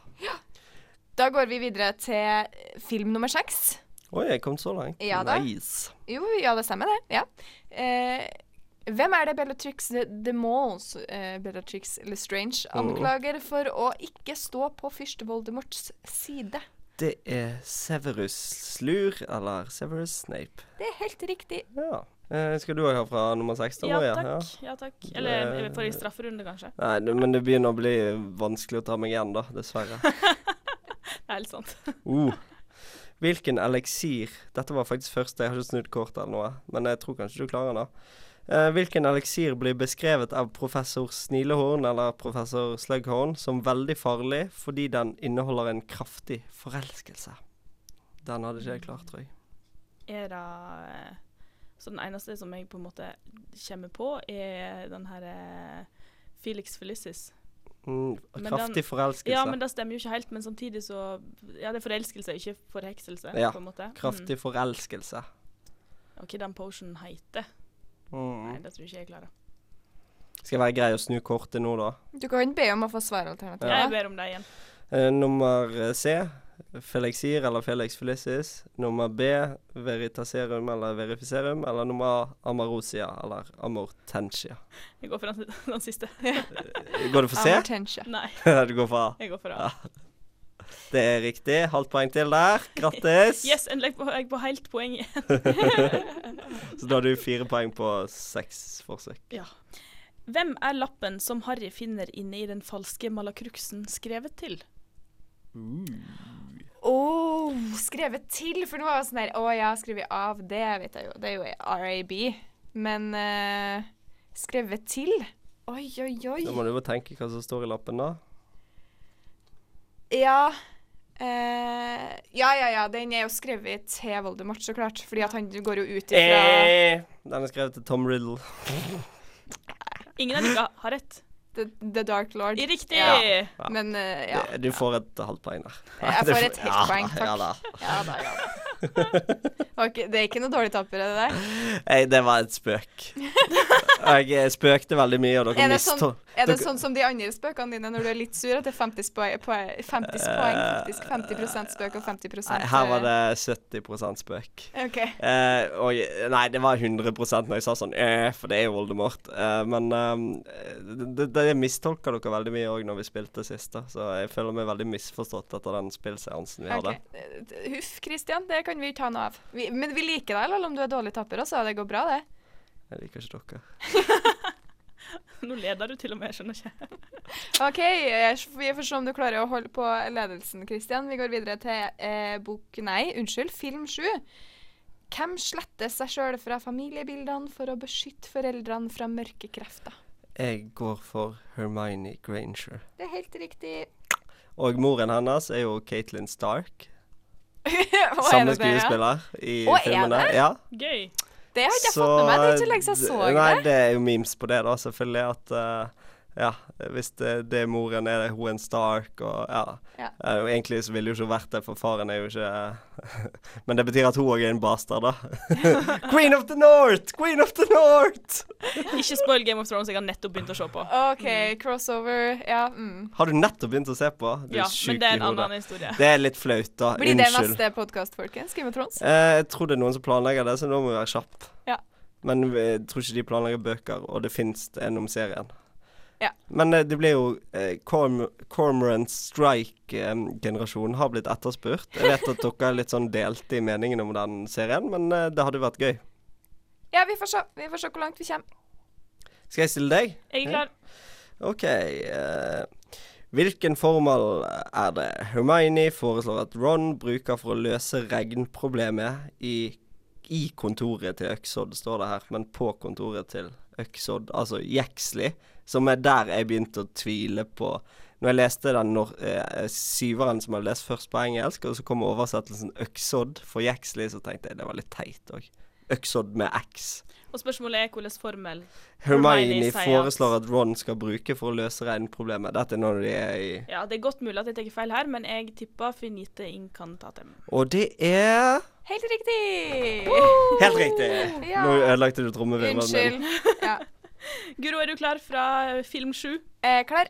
[SPEAKER 1] Da går vi videre til film nummer seks.
[SPEAKER 2] Oi, jeg kom så langt.
[SPEAKER 1] Ja da.
[SPEAKER 2] Nice.
[SPEAKER 1] Jo, ja, det stemmer det. Ja. Eh, hvem er det Bellatrix de, de Mons, eh, Bellatrix Lestrange, anklager for å ikke stå på fyrst Voldemorts side?
[SPEAKER 2] Det er Severus Slur, eller Severus Snape.
[SPEAKER 1] Det er helt riktig.
[SPEAKER 2] Ja. Eh, skal du òg ha fra nummer seks? da,
[SPEAKER 3] Ja
[SPEAKER 2] Maja?
[SPEAKER 3] takk. Ja, takk. Eller eh, forrige strafferunde, kanskje.
[SPEAKER 2] Nei, det- men det begynner å bli vanskelig å ta meg igjen, da. Dessverre.
[SPEAKER 3] Det er litt sant.
[SPEAKER 2] Uh. Hvilken eliksir Dette var faktisk første, jeg har ikke snudd kortet eller noe. Men jeg tror kanskje du klarer det. Eh, hvilken eliksir blir beskrevet av professor Snilehorn eller professor Slughorn som veldig farlig fordi den inneholder en kraftig forelskelse? Den hadde ikke jeg klart, tror jeg.
[SPEAKER 3] Er det eh, Så den eneste som jeg på en måte kommer på, er den her eh, Felix Felicis.
[SPEAKER 2] Mm,
[SPEAKER 3] Men
[SPEAKER 2] kraftig
[SPEAKER 3] den-
[SPEAKER 2] forelskelse.
[SPEAKER 3] Ja, men det stemmer jo ikke helt, men samtidig så Ja, det er forelskelse, ikke forhekselse,
[SPEAKER 2] Ja,
[SPEAKER 3] på en måte.
[SPEAKER 2] Kraftig forelskelse.
[SPEAKER 3] Mm. Og hva den potionen heter. Nei,
[SPEAKER 2] Mm.
[SPEAKER 3] det tror jeg ikke jeg klarer.
[SPEAKER 2] Skal jeg være grei å snu kortet nå, da?
[SPEAKER 1] Du kan be om å få
[SPEAKER 3] Jeg
[SPEAKER 1] svaralternativet.
[SPEAKER 3] ber om det igjen.
[SPEAKER 2] Eh, nummer eh, C, Felixir eller Felix Felicis. Nummer B, Veritaserum eller Verifiserum. Eller nummer A, Amarosia eller Amortensia.
[SPEAKER 3] Jeg går for [LAUGHS] den, den siste.
[SPEAKER 2] Går det for C? [LAUGHS]
[SPEAKER 1] Amortensia.
[SPEAKER 3] Nei,
[SPEAKER 2] du går for A.
[SPEAKER 3] jeg går for A.
[SPEAKER 2] Det er riktig. Halvt poeng til der.
[SPEAKER 1] [LAUGHS]
[SPEAKER 2] Grattis.
[SPEAKER 3] Yes, endelig er jeg på helt poeng.
[SPEAKER 2] Så da har du fire poeng på seks forsøk.
[SPEAKER 3] Ja. Hvem er lappen som Harry finner inne i den falske malakruksen skrevet til?
[SPEAKER 1] Oh, skrevet til, for nå var jeg sånn der Å ja, skrevet av, det vet jeg jo. Det er jo RAB. Men eh, skrevet til? Oi, oi, oi.
[SPEAKER 2] Da må du jo tenke hva som står i lappen, da.
[SPEAKER 1] Ja. Eh, ja, ja, ja. Den er jo skrevet til Voldemort, så klart. Fordi at han går jo ut ifra
[SPEAKER 2] Eh, Den er skrevet til Tom Riddle.
[SPEAKER 3] Ingen av dere har rett.
[SPEAKER 1] the, the Dark Lord.
[SPEAKER 3] Riktig!
[SPEAKER 1] Ja. Men eh, ja.
[SPEAKER 2] Det- Du får et halvt poeng der. [LAUGHS]
[SPEAKER 1] Jeg
[SPEAKER 2] Du
[SPEAKER 1] får et helt
[SPEAKER 2] ja,
[SPEAKER 1] poeng,
[SPEAKER 2] Ja,
[SPEAKER 1] takk.
[SPEAKER 2] da.
[SPEAKER 1] ja da, ja da. Ok, det er ikke noe dårlig tapper, det der.
[SPEAKER 2] Nei, Eh, det var et spøk.
[SPEAKER 1] [LAUGHS]
[SPEAKER 2] Jeg eh, spøkte veldig mye, og dere
[SPEAKER 1] Er det
[SPEAKER 2] mistå...
[SPEAKER 1] sånn, er det
[SPEAKER 2] dere-
[SPEAKER 1] sånn som de andre spøkene dine når du er litt sur, at det er 50 poeng, poeng, 50 poeng faktisk? 50 spøk og eh, 50
[SPEAKER 2] Nei, her var det 70 spøk.
[SPEAKER 1] OK.
[SPEAKER 2] Eh, og, jeg- nei, det var 100 når jeg sa sånn eh, for det er jo Voldemort. Eh, men eh, det, det mistolka dere veldig mye òg når vi spilte sist, da. Så jeg føler meg veldig misforstått etter den spillseansen vi hadde.
[SPEAKER 1] ok. Huff, Christian. Det kan vi ikke ha noe av. Vi, men vi liker deg, selv om du er dårlig tapper også. Det går bra, det.
[SPEAKER 2] Jeg liker ikke dere.
[SPEAKER 3] [LAUGHS] Nå leder du til og med, jeg skjønner ikke.
[SPEAKER 1] OK, eh, vi får se om du klarer å holde på ledelsen, Kristian. Vi går videre til eh, bok Nei, unnskyld, film sju. Hvem sletter seg sjøl fra familiebildene for å beskytte foreldrene fra mørke krefter?
[SPEAKER 2] Jeg går for Hermione Granger.
[SPEAKER 1] Det er helt riktig.
[SPEAKER 2] Og moren hennes er jo Caitlyn Stark.
[SPEAKER 1] [LAUGHS] Hva er det
[SPEAKER 2] Samme
[SPEAKER 1] det er?
[SPEAKER 2] skuespiller i
[SPEAKER 1] Å, er
[SPEAKER 2] filmene.
[SPEAKER 1] det?
[SPEAKER 2] Ja.
[SPEAKER 3] Gøy.
[SPEAKER 1] Det har ikke jeg fått med meg. Det er ikke lenge siden jeg så
[SPEAKER 2] d- Nei,
[SPEAKER 1] det.
[SPEAKER 2] det er jo memes på det, da, selvfølgelig. At eh, ja, hvis det, det er moren, er det hun en Stark og ja.
[SPEAKER 1] Ja.
[SPEAKER 2] Eh, og egentlig så ville jo ikke hun vært det, for faren er jo ikke eh, [LAUGHS] Men det betyr at hun òg er en bastard,
[SPEAKER 1] [LAUGHS]
[SPEAKER 2] da. Queen of the North! Queen of the North!
[SPEAKER 3] Ikke spoil Game of Thrones, jeg har nettopp begynt å se på.
[SPEAKER 1] OK, crossover. Ja. Mm.
[SPEAKER 2] Har du nettopp begynt å se på? Du
[SPEAKER 3] Ja,
[SPEAKER 2] er
[SPEAKER 3] men
[SPEAKER 2] sjuk
[SPEAKER 3] det er
[SPEAKER 2] i
[SPEAKER 3] en annen
[SPEAKER 2] hodet.
[SPEAKER 3] historie.
[SPEAKER 2] Det er litt flaut, da.
[SPEAKER 1] Blir det
[SPEAKER 2] Unnskyld.
[SPEAKER 1] neste podkast, folkens? Game of Thrones?
[SPEAKER 2] Eh, jeg tror det er noen som planlegger det, så nå må vi være kjapp.
[SPEAKER 1] Ja.
[SPEAKER 2] Men vi- jeg tror ikke de planlegger bøker, og det fins en om serien.
[SPEAKER 1] Ja.
[SPEAKER 2] Men eh, det blir jo eh, Corm Cormorant Strike-generasjonen har blitt etterspurt. Jeg vet
[SPEAKER 1] [LAUGHS]
[SPEAKER 2] at dere er litt sånn delte i meningen om den serien, men eh, det hadde jo vært gøy.
[SPEAKER 1] Ja, vi får se. Vi får se hvor langt vi kommer.
[SPEAKER 2] Skal jeg stille deg?
[SPEAKER 3] Jeg er klar.
[SPEAKER 2] OK. eh, hvilken formel er det Hermione foreslår at Ron bruker for å løse regnproblemet i i kontoret til Øksodd, står det her, men på kontoret til Øksodd, altså Jeksli, som er der jeg begynte å tvile på Når jeg leste den nor eh, syveren som jeg lest først på engelsk, og så kom oversettelsen Øksodd for Jeksli, så tenkte jeg det var litt teit òg. Øksodd med X.
[SPEAKER 3] Og spørsmålet er hvilken formel
[SPEAKER 2] Hermione
[SPEAKER 3] Hermione sier at-
[SPEAKER 2] foreslår at Ron skal bruke for å løse regnproblemet. Dette er når de er i
[SPEAKER 3] Ja, det er godt mulig at jeg tar feil her, men jeg tipper finite incantatem.
[SPEAKER 2] Og det er
[SPEAKER 1] Helt riktig!
[SPEAKER 2] Helt riktig!
[SPEAKER 1] Ja.
[SPEAKER 2] Nå ødelagte du trommevirvelen min.
[SPEAKER 1] Unnskyld. Ja.
[SPEAKER 3] Guro, er du klar fra film sju?
[SPEAKER 1] Eh, klar.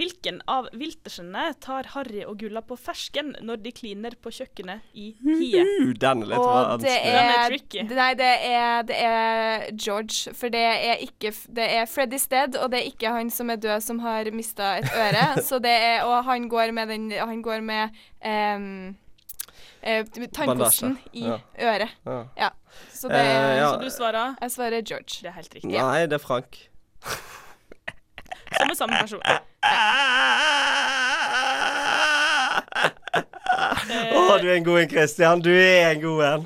[SPEAKER 3] Hvilken av viltersene tar Harry og Gulla på fersken når de kliner på kjøkkenet i hiet?
[SPEAKER 2] Uh, den er litt
[SPEAKER 1] Og det
[SPEAKER 2] vanskelig.
[SPEAKER 3] Den er
[SPEAKER 1] er,
[SPEAKER 3] tricky.
[SPEAKER 1] nei, det er, det er George, for det er ikke f- Det er Freddy's dead, og det er ikke han som er død, som har mista et øre.
[SPEAKER 2] [LAUGHS]
[SPEAKER 1] så det er, og han går med den Han går med ehm, eh, tannkosten i
[SPEAKER 2] ja.
[SPEAKER 1] øret.
[SPEAKER 2] Ja.
[SPEAKER 1] Ja. Så det
[SPEAKER 2] Eh,
[SPEAKER 1] er
[SPEAKER 2] ja.
[SPEAKER 3] Så du svarer?
[SPEAKER 1] Jeg svarer George.
[SPEAKER 3] Det er helt riktig.
[SPEAKER 2] Nei, det er Frank.
[SPEAKER 3] Som er samme person.
[SPEAKER 1] Eh.
[SPEAKER 2] Å, du er en god en, Christian. Du er en god en.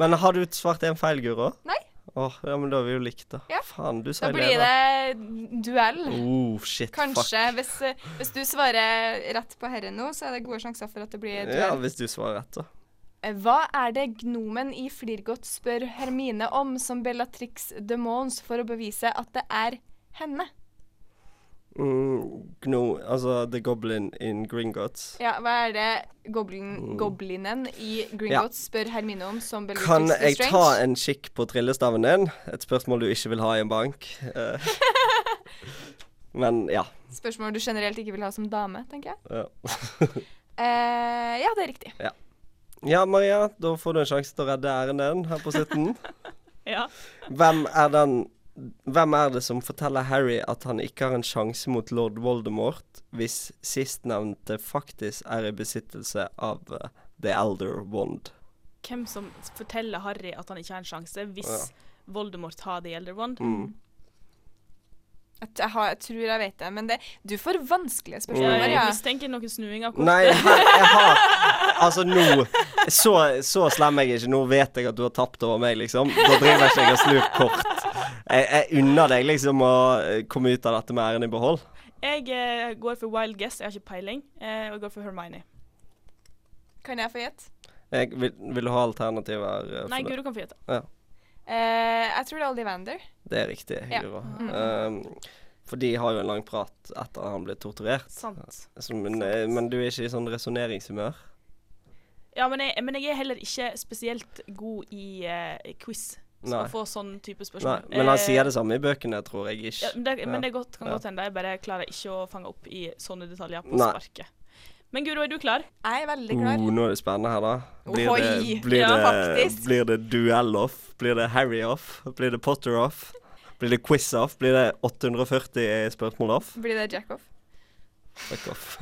[SPEAKER 2] Men har du svart en feil, Guro?
[SPEAKER 1] Nei.
[SPEAKER 2] Åh, ja, men da har vi jo likt, da.
[SPEAKER 1] Ja.
[SPEAKER 2] Faen, du
[SPEAKER 1] Da
[SPEAKER 2] sa
[SPEAKER 1] blir
[SPEAKER 2] da.
[SPEAKER 1] det duell.
[SPEAKER 2] Oh, shit, fuck.
[SPEAKER 1] Kanskje. Hvis, eh, hvis du svarer rett på herre nå, så er det gode sjanser for at det blir
[SPEAKER 2] Ja,
[SPEAKER 1] duell.
[SPEAKER 2] hvis du svarer rett, da.
[SPEAKER 1] Eh, Hva er det gnomen i Flirgot spør Hermine om som Bellatrix de Mons for å bevise at det er henne?
[SPEAKER 2] Mm, gno, altså The Goblin in Gringotts.
[SPEAKER 1] Ja, hva er det
[SPEAKER 2] Mm.
[SPEAKER 1] goblin, goblinen i Gringotts spør Hermine om som Bellatrix
[SPEAKER 2] Kan
[SPEAKER 1] de
[SPEAKER 2] jeg
[SPEAKER 1] Strange?
[SPEAKER 2] ta en kikk på trillestaven din? Et spørsmål du ikke vil ha i en bank. Eh, Men ja.
[SPEAKER 1] Spørsmål du generelt ikke vil ha som dame, tenker jeg.
[SPEAKER 2] ja.
[SPEAKER 1] Eh, ja, det er riktig.
[SPEAKER 2] Ja, Maria, da får du en sjanse til å redde æren din her på slutten.
[SPEAKER 3] Ja.
[SPEAKER 2] Hvem er den Hvem er det som forteller Harry at han ikke har en sjanse mot lord Voldemort hvis sistnevnte faktisk er i besittelse av eh, The Elder Wand?
[SPEAKER 3] Hvem som forteller Harry at han ikke har en sjanse hvis
[SPEAKER 2] Ja. Mm.
[SPEAKER 3] Voldemort har The Elder Wand?
[SPEAKER 1] Jeg, t- jeg, har, jeg tror jeg vet det, men det, du får vanskelige spørsmål,
[SPEAKER 2] Mm.
[SPEAKER 3] Jeg
[SPEAKER 1] Maria.
[SPEAKER 3] mistenker noen snuinger. hvor-
[SPEAKER 2] Nei, her, jeg har Altså, nå så, så slem er jeg ikke. Nå vet jeg at du har tapt over meg, liksom. Da driver jeg ikke jeg og snur kort. Jeg, jeg unner deg liksom å eh, komme ut av dette med æren i behold.
[SPEAKER 3] Jeg eh, går for Wild Guess, jeg har ikke peiling. Eh, og jeg går for Hermione.
[SPEAKER 1] Kan jeg få gjette?
[SPEAKER 2] Jeg, vil, vil du ha alternativer? eh, for
[SPEAKER 3] Nei,
[SPEAKER 2] det?
[SPEAKER 3] Guro kan få gjette.
[SPEAKER 1] Eh, jeg tror det er Ollivander.
[SPEAKER 2] Det er riktig,
[SPEAKER 1] Ja.
[SPEAKER 2] Guro.
[SPEAKER 3] Mm.
[SPEAKER 2] Um, for de har jo en lang prat etter han ble torturert.
[SPEAKER 3] Sant.
[SPEAKER 2] Så, men, eh, men du er ikke i sånn resonneringshumør?
[SPEAKER 3] Ja, men jeg, men jeg er heller ikke spesielt god i eh, quiz. Så
[SPEAKER 2] Nei.
[SPEAKER 3] å få sånn type
[SPEAKER 2] Nei,
[SPEAKER 3] spørsmål.
[SPEAKER 2] men han sier det samme i bøkene, tror jeg
[SPEAKER 3] Eh, Ja,
[SPEAKER 2] ikke.
[SPEAKER 3] men det, men
[SPEAKER 2] Ja.
[SPEAKER 3] det er godt, kan
[SPEAKER 2] Ja.
[SPEAKER 3] godt hende. Jeg bare klarer ikke å fange opp i sånne detaljer på
[SPEAKER 2] Nei.
[SPEAKER 3] sparket. Men Guro, er du klar?
[SPEAKER 1] Jeg er veldig klar.
[SPEAKER 2] Oh, nå er det spennende her, da. Blir det,
[SPEAKER 1] Ohoi!
[SPEAKER 2] blir
[SPEAKER 3] Ja,
[SPEAKER 2] det,
[SPEAKER 1] faktisk.
[SPEAKER 2] blir det duell-off? Blir det Harry-off? Blir det Potter-off? Blir det quiz-off? Blir det 840 spørsmål-off?
[SPEAKER 1] Blir det Jackoff?
[SPEAKER 2] Fuck off.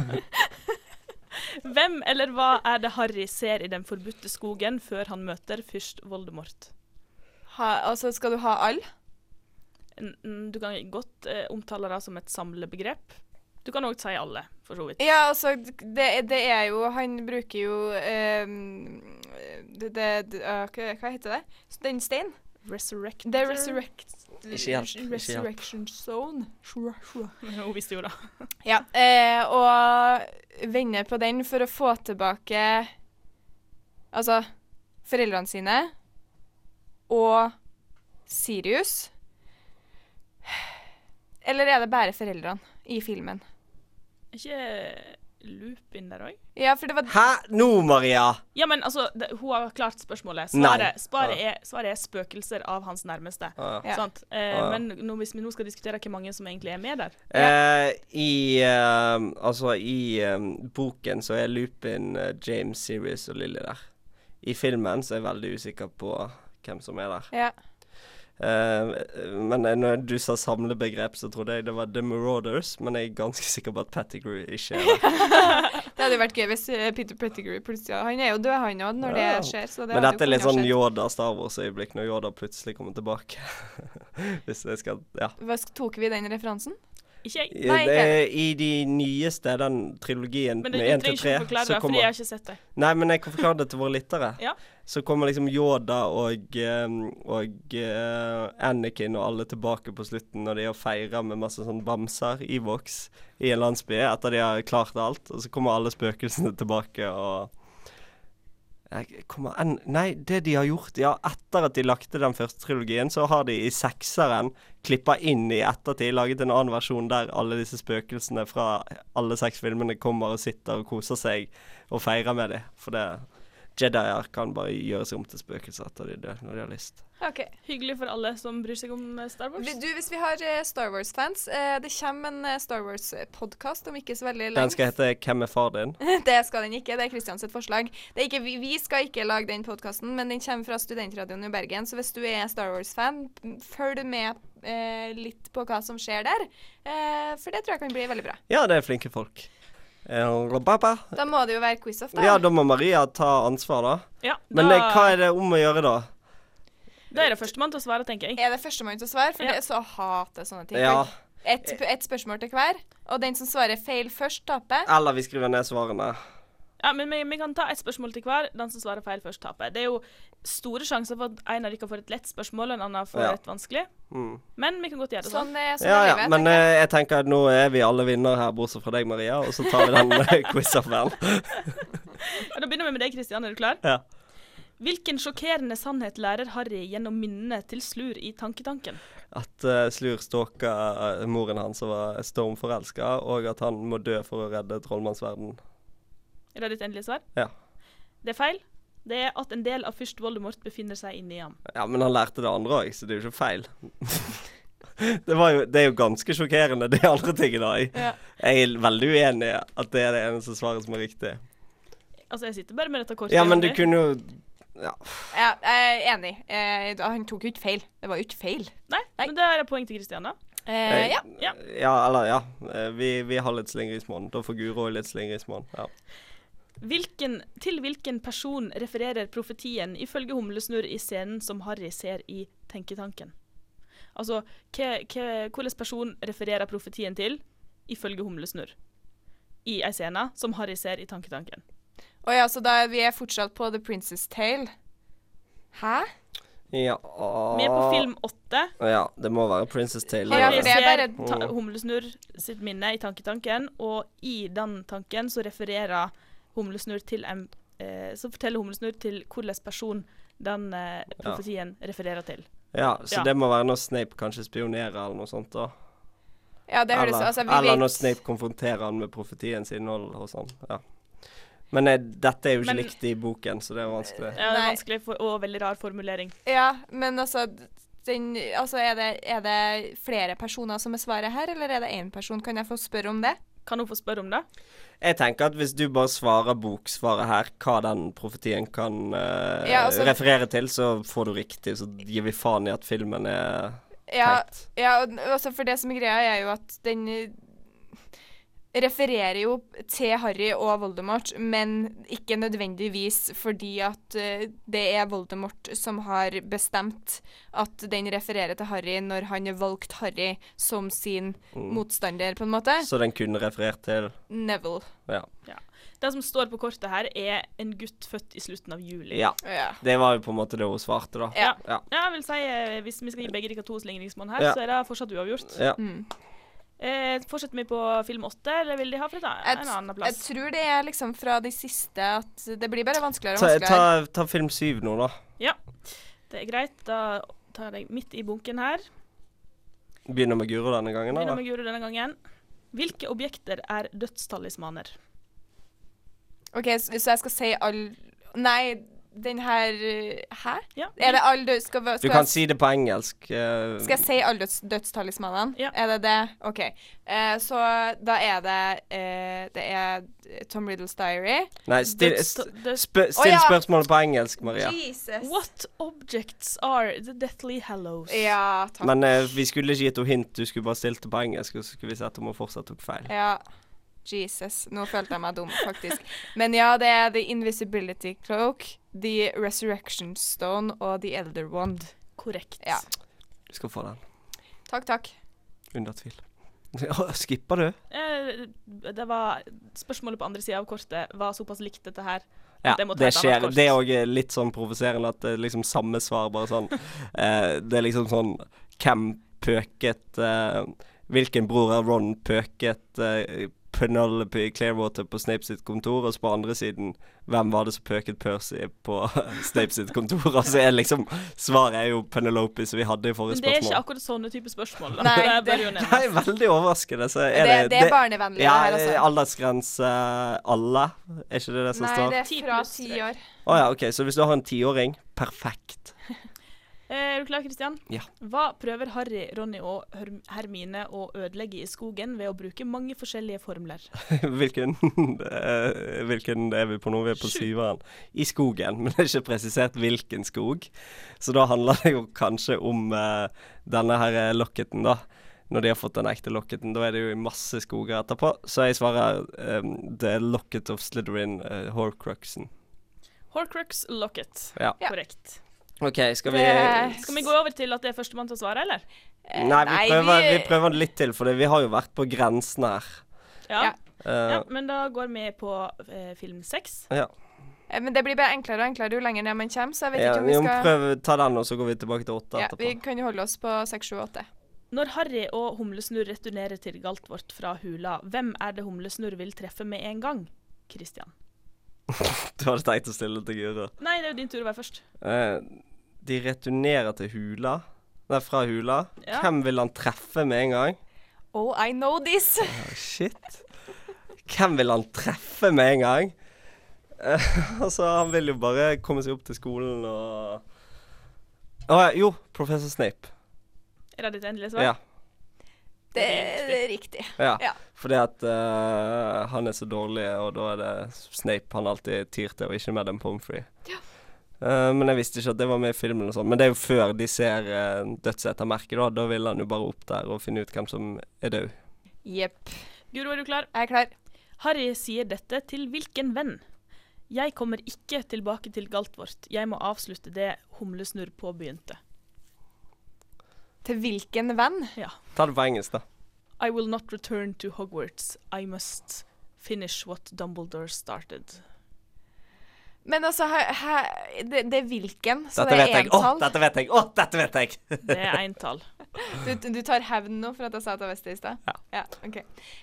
[SPEAKER 3] Hvem eller hva er det Harry ser i Den forbudte skogen før han møter fyrst Voldemort?
[SPEAKER 1] Ha, altså, skal du ha all?
[SPEAKER 3] N- n- Du kan godt eh, omtale det som et samlebegrep. Du kan òg si alle, for så vidt.
[SPEAKER 1] Ja, altså, det, det er jo Han bruker jo ehm, det, det, det, øh, hva, hva heter det? Så Den steinen?
[SPEAKER 3] Resurrect.
[SPEAKER 1] Det er resurrect,
[SPEAKER 2] Ikke hjelp, ikke hjelp.
[SPEAKER 1] Resurrection Zone. Shua, shua.
[SPEAKER 3] [LAUGHS] Hun visste jo det.
[SPEAKER 1] Ja. Eh, og vender på den for å få tilbake Altså foreldrene sine og Sirius. Eller er det bare foreldrene i filmen?
[SPEAKER 3] Er ikke Lupin der òg?
[SPEAKER 1] Ja, for det var
[SPEAKER 2] Hæ? Nå, Maria!
[SPEAKER 3] Ja, men altså, det, hun har klart spørsmålet.
[SPEAKER 2] Nei.
[SPEAKER 3] Svaret, svaret, er, svaret er spøkelser av hans nærmeste.
[SPEAKER 2] Ah.
[SPEAKER 1] Ja.
[SPEAKER 3] Sant? Eh,
[SPEAKER 2] Ah.
[SPEAKER 3] Men nå, hvis vi nå skal diskutere hvor mange som egentlig er med der
[SPEAKER 2] Eh, I eh, Altså, i eh, boken så er Lupin, eh, James, Sirius og Lily der. I filmen så er jeg veldig usikker på hvem som er der.
[SPEAKER 1] Ja.
[SPEAKER 2] Eh, men eh, når du sa samlebegrep, så trodde jeg det var The Marauders, men jeg er ganske sikker på at Pettigrew ikke er der.
[SPEAKER 1] Det hadde jo vært gøy hvis eh, Peter Pettigrew plutselig Han er jo død, han òg, når
[SPEAKER 2] Ja.
[SPEAKER 1] det skjer. Så det
[SPEAKER 2] Men
[SPEAKER 1] hadde
[SPEAKER 2] dette er
[SPEAKER 1] jo
[SPEAKER 2] litt
[SPEAKER 1] kunnet
[SPEAKER 2] sånn
[SPEAKER 1] skjedd.
[SPEAKER 2] Yoda-Star Wars-øyeblikk, når Yoda plutselig kommer tilbake. [LAUGHS] Hvis jeg skal Ja.
[SPEAKER 1] Hva sk- Tok vi den referansen?
[SPEAKER 3] Ikke jeg.
[SPEAKER 1] Nei, ikke
[SPEAKER 2] Eh, I de nyeste, den trilogien
[SPEAKER 3] Men
[SPEAKER 2] med
[SPEAKER 3] det, du
[SPEAKER 2] 1
[SPEAKER 3] trenger
[SPEAKER 2] til
[SPEAKER 3] ikke
[SPEAKER 2] 3,
[SPEAKER 3] å forklare
[SPEAKER 2] så
[SPEAKER 3] det, fordi jeg
[SPEAKER 2] kommer
[SPEAKER 3] har ikke sett det.
[SPEAKER 2] Nei, men jeg kan forklare det til våre lyttere.
[SPEAKER 3] Ja.
[SPEAKER 2] Så kommer liksom Yoda og, eh, og eh, Anakin og alle tilbake på slutten når de har feira med masse sånn bamser i voks i en landsby etter de har klart alt. Og så kommer alle spøkelsene tilbake og Jeg kommer en, Nei, det de har gjort Ja, etter at de lagde den første trilogien, så har de i sekseren klippa inn i ettertid, laget en annen versjon der alle disse spøkelsene fra alle seks filmene kommer og sitter og koser seg og feirer med dem. For det Jedier kan bare gjøres om til spøkelser etter de dør, når de har lyst.
[SPEAKER 1] OK.
[SPEAKER 3] Hyggelig for alle som bryr seg om eh, Star Wars.
[SPEAKER 1] Vi- Du, hvis vi har eh, Star Wars-fans, eh, det kommer en eh, Star Wars-podkast om ikke så veldig
[SPEAKER 2] Den
[SPEAKER 1] lenge.
[SPEAKER 2] skal hete 'Hvem er far din?'
[SPEAKER 1] [LAUGHS] Det skal den ikke, det er Kristians sitt forslag. Det er ikke, vi, vi skal ikke lage den podkasten, men den kommer fra Studentradioen i Bergen. Så hvis du er Star Wars-fan, m- følg med eh, litt på hva som skjer der. Eh, for det tror jeg kan bli veldig bra.
[SPEAKER 2] Ja, det er flinke folk. Eh, rababa.
[SPEAKER 1] Da må det jo være quiz-off, da.
[SPEAKER 2] Ja, da må Maria ta ansvar, da.
[SPEAKER 3] Ja, da,
[SPEAKER 2] Men eh, hva er det om å gjøre, da?
[SPEAKER 3] da er det førstemann til å svare, tenker jeg.
[SPEAKER 1] Er det førstemann til å svare? For
[SPEAKER 3] Ja.
[SPEAKER 1] det er så hater jeg sånne ting.
[SPEAKER 2] Ja,
[SPEAKER 1] Et, et spørsmål til hver, og den som svarer feil først, taper.
[SPEAKER 2] eller vi skriver ned svarene.
[SPEAKER 3] Ja, men vi, vi kan ta ett spørsmål til hver. Den som svarer feil først, taper. Det er jo store sjanser for at en av dere får et lett spørsmål, og en annen får
[SPEAKER 2] Ja.
[SPEAKER 3] et vanskelig.
[SPEAKER 2] Mm.
[SPEAKER 3] Men vi kan godt gjøre det sånn.
[SPEAKER 1] Sånn, eh, sånn
[SPEAKER 2] Ja,
[SPEAKER 1] er
[SPEAKER 2] ja,
[SPEAKER 1] livet.
[SPEAKER 2] men eh, jeg tenker at nå er vi alle vinnere her, bortsett fra deg, Maria, og så tar vi den eh, quiz-affæren.
[SPEAKER 3] Ja, da begynner vi med deg, Kristian. Er du klar?
[SPEAKER 2] Ja.
[SPEAKER 3] Hvilken sjokkerende sannhet lærer Harry gjennom minnene til Slur i Tanketanken?
[SPEAKER 2] At eh, Slur stalka eh, moren hans og var stormforelska, og at han må dø for å redde trollmannsverden.
[SPEAKER 3] Er det ditt endelige svar?
[SPEAKER 2] Ja.
[SPEAKER 3] Det er feil. Det er at en del av fyrst Voldemort befinner seg inni ham.
[SPEAKER 2] Ja, men han lærte det andre òg, så det er jo ikke feil. [LAUGHS] det, var jo, det er jo ganske sjokkerende, det andre tinget da. Jeg,
[SPEAKER 1] Ja.
[SPEAKER 2] jeg er veldig uenig i at det er det eneste svaret som er riktig.
[SPEAKER 3] Altså, jeg sitter bare med dette kortet.
[SPEAKER 2] Ja, men du
[SPEAKER 3] Jonny.
[SPEAKER 2] kunne jo ja.
[SPEAKER 1] Ja, jeg er enig. Eh, da- han tok jo ikke feil. Det var jo ikke feil.
[SPEAKER 3] Nei, men det er et poeng til Kristian, da.
[SPEAKER 1] Eh, ja.
[SPEAKER 3] Ja.
[SPEAKER 2] ja, eller ja. Eh, Vi, vi har litt slingringsmonn. Da får Guro litt slingringsmonn. Ja.
[SPEAKER 3] Hvilken, til hvilken person refererer profetien ifølge Humlesnurr i scenen som Harry ser i Tenketanken? Altså, hva- hva- hvilken person refererer profetien til ifølge Humlesnurr i ei scene som Harry ser i Tanketanken?
[SPEAKER 1] Og ja, så da vi er fortsatt på The Princess Tale. Hæ?
[SPEAKER 2] ja.
[SPEAKER 3] Vi er
[SPEAKER 2] Ah.
[SPEAKER 3] på film åtte.
[SPEAKER 2] Ja, det må være Princess Tale.
[SPEAKER 1] Ja,
[SPEAKER 3] Harry
[SPEAKER 1] for det
[SPEAKER 2] det.
[SPEAKER 1] er
[SPEAKER 3] ser
[SPEAKER 1] bare-
[SPEAKER 3] ta- Humlesnurr sitt minne i Tanketanken, og i den tanken så refererer Humlesnurr til en eh, Så forteller Humlesnurr til hvilken person den eh, profetien refererer til.
[SPEAKER 2] Ja, så
[SPEAKER 3] Ja.
[SPEAKER 2] det må være når Snape kanskje spionerer eller noe sånt. da.
[SPEAKER 1] Ja, det høres
[SPEAKER 2] eller,
[SPEAKER 1] altså, vi
[SPEAKER 2] eller
[SPEAKER 1] vet-
[SPEAKER 2] når Snape konfronterer han med profetiens innhold og sånn. Ja. Men eh, dette er jo ikke
[SPEAKER 3] Men-
[SPEAKER 2] likt i boken, så det er vanskelig.
[SPEAKER 3] Ja, det er
[SPEAKER 1] Nei.
[SPEAKER 3] vanskelig for, og veldig rar formulering.
[SPEAKER 1] Ja, men altså, den, altså er, det, er det flere personer som er svaret her, eller er det én person? Kan jeg få spørre om det?
[SPEAKER 3] Kan hun få spørre om det?
[SPEAKER 2] Jeg tenker at hvis du bare svarer boksvaret her, hva den profetien kan eh,
[SPEAKER 1] Ja, altså-
[SPEAKER 2] referere til, så får du riktig. Så gir vi faen i at filmen er
[SPEAKER 1] Ja,
[SPEAKER 2] teit.
[SPEAKER 1] ja og- altså for det som er greia, er jo at den eh, refererer jo til Harry og Voldemort, men ikke nødvendigvis fordi at eh, det er Voldemort som har bestemt at den refererer til Harry når han har valgt Harry som sin
[SPEAKER 2] Mm.
[SPEAKER 1] motstander, på en måte.
[SPEAKER 2] Så den kunne referert til
[SPEAKER 1] Neville.
[SPEAKER 2] ja.
[SPEAKER 3] Det som står på kortet her, er en gutt født i slutten av juli.
[SPEAKER 2] ja.
[SPEAKER 1] Ja.
[SPEAKER 2] Det var jo på en måte det hun svarte, da.
[SPEAKER 1] Ja.
[SPEAKER 2] Ja.
[SPEAKER 3] Ja, jeg vil si, eh, Hvis vi skal gi begge dere to slingringsmonn her,
[SPEAKER 2] Ja.
[SPEAKER 3] så er det fortsatt uavgjort.
[SPEAKER 2] Ja.
[SPEAKER 1] Mm,
[SPEAKER 3] Eh, fortsetter vi på film åtte, eller vil de ha fra da-
[SPEAKER 1] Jeg,
[SPEAKER 3] en annen
[SPEAKER 1] jeg
[SPEAKER 3] plass?
[SPEAKER 1] tror det er liksom fra de siste at det blir bare vanskeligere og
[SPEAKER 2] Ta, ta,
[SPEAKER 1] vanskeligere.
[SPEAKER 2] ta film syv nå, da.
[SPEAKER 3] Ja, det er greit. Da tar jeg midt i bunken her.
[SPEAKER 2] Begynner med Guro denne gangen,
[SPEAKER 3] Begynner
[SPEAKER 2] eller?
[SPEAKER 3] med Guro denne gangen. Hvilke objekter er dødstalismaner?
[SPEAKER 1] OK, så, så jeg skal si all Nei, den her eh, Hæ?
[SPEAKER 3] Ja.
[SPEAKER 1] Er det all død... Skal, vi-
[SPEAKER 2] Du
[SPEAKER 1] skal,
[SPEAKER 2] kan
[SPEAKER 1] jeg-
[SPEAKER 2] si det på engelsk. eh,
[SPEAKER 1] skal jeg si alle døds, dødstalismanene?
[SPEAKER 3] Ja.
[SPEAKER 1] Er det det? OK. Eh, så da er det eh, Det er Tom Riddles Diary.
[SPEAKER 2] Nei, still,
[SPEAKER 3] Dødsta- død-
[SPEAKER 2] sp still
[SPEAKER 1] ja.
[SPEAKER 2] spørsmålet på engelsk, Maria.
[SPEAKER 1] Jesus.
[SPEAKER 3] What objects are the Deathly Hallows?
[SPEAKER 1] Ja, takk.
[SPEAKER 2] Men eh, vi skulle ikke gitt henne hint, du skulle bare stilt det på engelsk, og så skulle vi sett om hun fortsatt tok feil.
[SPEAKER 1] Ja. Jesus. Nå følte jeg meg dum, faktisk. Men ja, det er The Invisibility Cloak, The Resurrection Stone og The Elder Wand.
[SPEAKER 3] Korrekt.
[SPEAKER 1] Ja.
[SPEAKER 2] Du skal få den.
[SPEAKER 1] Takk, takk.
[SPEAKER 2] Under tvil. [LAUGHS] Skipper du?
[SPEAKER 3] Eh, det var Spørsmålet på andre sida av kortet var såpass likt dette her.
[SPEAKER 2] Ja,
[SPEAKER 3] Det må ta
[SPEAKER 2] det
[SPEAKER 3] et annet
[SPEAKER 2] skjer.
[SPEAKER 3] kort.
[SPEAKER 2] Det er òg litt sånn provoserende at det er liksom samme svar, bare sånn. eh, det er liksom sånn Hvem pøket eh, Hvilken bror av Ron pøket eh, Penelope Clearwater på Snape sitt kontor, og så på andre siden Hvem var det som pøket Percy på [LAUGHS] Snape sitt kontor? Altså er liksom Svaret er jo Penelope, som vi hadde i forrige
[SPEAKER 3] Men det er ikke
[SPEAKER 2] spørsmål.
[SPEAKER 3] akkurat sånne type spørsmål. Da. [LAUGHS]
[SPEAKER 1] Nei,
[SPEAKER 3] det,
[SPEAKER 1] det-
[SPEAKER 3] bør jo nevnes.
[SPEAKER 2] Nei, veldig overraskende. Så
[SPEAKER 1] Det,
[SPEAKER 2] er
[SPEAKER 1] det,
[SPEAKER 2] det,
[SPEAKER 1] er barnevennlig,
[SPEAKER 2] ja, eh,
[SPEAKER 1] det her, altså.
[SPEAKER 2] aldersgrense alle, er ikke det det som
[SPEAKER 1] Nei,
[SPEAKER 2] står?
[SPEAKER 1] det er
[SPEAKER 3] 10
[SPEAKER 1] fra
[SPEAKER 3] pluss
[SPEAKER 1] ti
[SPEAKER 3] strek.
[SPEAKER 1] år.
[SPEAKER 2] Å ja, OK. Så hvis du har en tiåring, perfekt. [LAUGHS]
[SPEAKER 3] Eh, Er du klar, Kristian?
[SPEAKER 2] Ja.
[SPEAKER 3] Hva prøver Harry, Ronny og Herm- Hermine å ødelegge i skogen ved å bruke mange forskjellige formler?
[SPEAKER 2] Hvilken, eh, hvilken er vi på nå? Vi er på
[SPEAKER 3] Sju.
[SPEAKER 2] syveren. I skogen, [LAUGHS] men det er ikke presisert hvilken skog. Så da handler det jo kanskje om eh, denne her eh, locketen, da. Når de har fått den ekte locketen. Da er det jo i masse skoger etterpå. Så jeg svarer eh, The Locket of Slytherin eh, Horcruxen.
[SPEAKER 3] Horcrux locket.
[SPEAKER 2] Ja.
[SPEAKER 1] Ja.
[SPEAKER 3] Korrekt.
[SPEAKER 2] OK, skal vi
[SPEAKER 1] Det-
[SPEAKER 3] Eh, Skal vi gå over til at det er førstemann til å svare, eller?
[SPEAKER 1] Eh,
[SPEAKER 2] Nei, vi prøver, vi
[SPEAKER 1] vi-
[SPEAKER 2] prøver litt til, for vi har jo vært på grensen her.
[SPEAKER 1] Ja.
[SPEAKER 2] Eh,
[SPEAKER 3] ja men da går vi på eh, film seks.
[SPEAKER 2] ja.
[SPEAKER 1] Eh, Men det blir bare enklere og enklere jo lenger ned man kommer, så jeg vet ikke
[SPEAKER 2] Ja,
[SPEAKER 1] om
[SPEAKER 2] vi
[SPEAKER 1] vi
[SPEAKER 2] må
[SPEAKER 1] skal
[SPEAKER 2] prøve å ta den, og så går vi tilbake til åtte
[SPEAKER 1] ja,
[SPEAKER 2] etterpå.
[SPEAKER 1] Vi kan jo holde oss på seks, sju, åtte.
[SPEAKER 3] Når Harry og Humlesnurr returnerer til Galtvort fra hula, hvem er det Humlesnurr vil treffe med en gang? Kristian.
[SPEAKER 2] [LAUGHS] Du hadde tenkt å stille til Guro.
[SPEAKER 3] Nei, det er jo din tur å være først.
[SPEAKER 2] Eh, de returnerer til hula. Nei, fra hula.
[SPEAKER 3] Ja.
[SPEAKER 2] Hvem vil han treffe med en gang?
[SPEAKER 1] Oh, I know this!
[SPEAKER 2] Å, shit. Hvem vil han treffe med en gang? Eh, [LAUGHS] altså, han vil jo bare komme seg opp til skolen og Å ja, jo, professor Snape.
[SPEAKER 3] Er det ditt endelige svar?
[SPEAKER 2] Ja.
[SPEAKER 1] Det er riktig.
[SPEAKER 2] ja.
[SPEAKER 1] Ja.
[SPEAKER 2] Fordi at eh, han er så dårlig, og da er det Snape han alltid tyr til, og ikke Madam Pomfrey. Eh, men jeg visste ikke at det var med i filmen. og sånn Men det er jo før de ser uh, dødsettermerket. Da Da vil han jo bare opp der og finne ut hvem som er død.
[SPEAKER 1] Jepp.
[SPEAKER 3] Guro, er du klar?
[SPEAKER 1] Jeg er klar.
[SPEAKER 3] Harry sier dette til hvilken venn? Jeg kommer ikke tilbake til Galtvort. Jeg må avslutte det humlesnurr påbegynte.
[SPEAKER 1] Til hvilken venn?
[SPEAKER 2] Ta det på engelsk, da.
[SPEAKER 3] I will not return to Hogwarts. I must finish what Dumbledore started.
[SPEAKER 1] Men altså, her, her, det, det er hvilken, så
[SPEAKER 2] Dette
[SPEAKER 1] det
[SPEAKER 2] vet
[SPEAKER 1] er
[SPEAKER 2] jeg. Å,
[SPEAKER 1] entall.
[SPEAKER 2] dette vet jeg! Å, dette vet jeg!
[SPEAKER 3] Det er eintall.
[SPEAKER 1] Du, du tar hevn nå for at jeg sa at jeg visste det i stad?
[SPEAKER 2] Ja.
[SPEAKER 1] ok.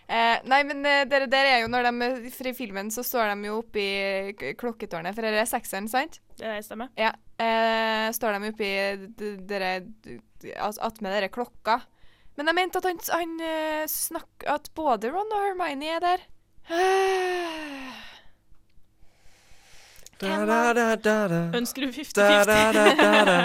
[SPEAKER 1] Eh, nei, men eh, dere der er jo når de For i filmen så står de jo oppe i k- klokketårnet, for dette er sekseren, sant?
[SPEAKER 3] Det er stemmer.
[SPEAKER 1] Ja. Eh, står de oppe i d- dere d- altså, attmed dere klokka. Men jeg mente at han, han eh, snakk... At både Ron og Hermione er der.
[SPEAKER 2] Da, da, da, da, da.
[SPEAKER 3] Ønsker du
[SPEAKER 2] Da, da,
[SPEAKER 3] 50-50?
[SPEAKER 2] da, da,
[SPEAKER 1] [LAUGHS]
[SPEAKER 2] da.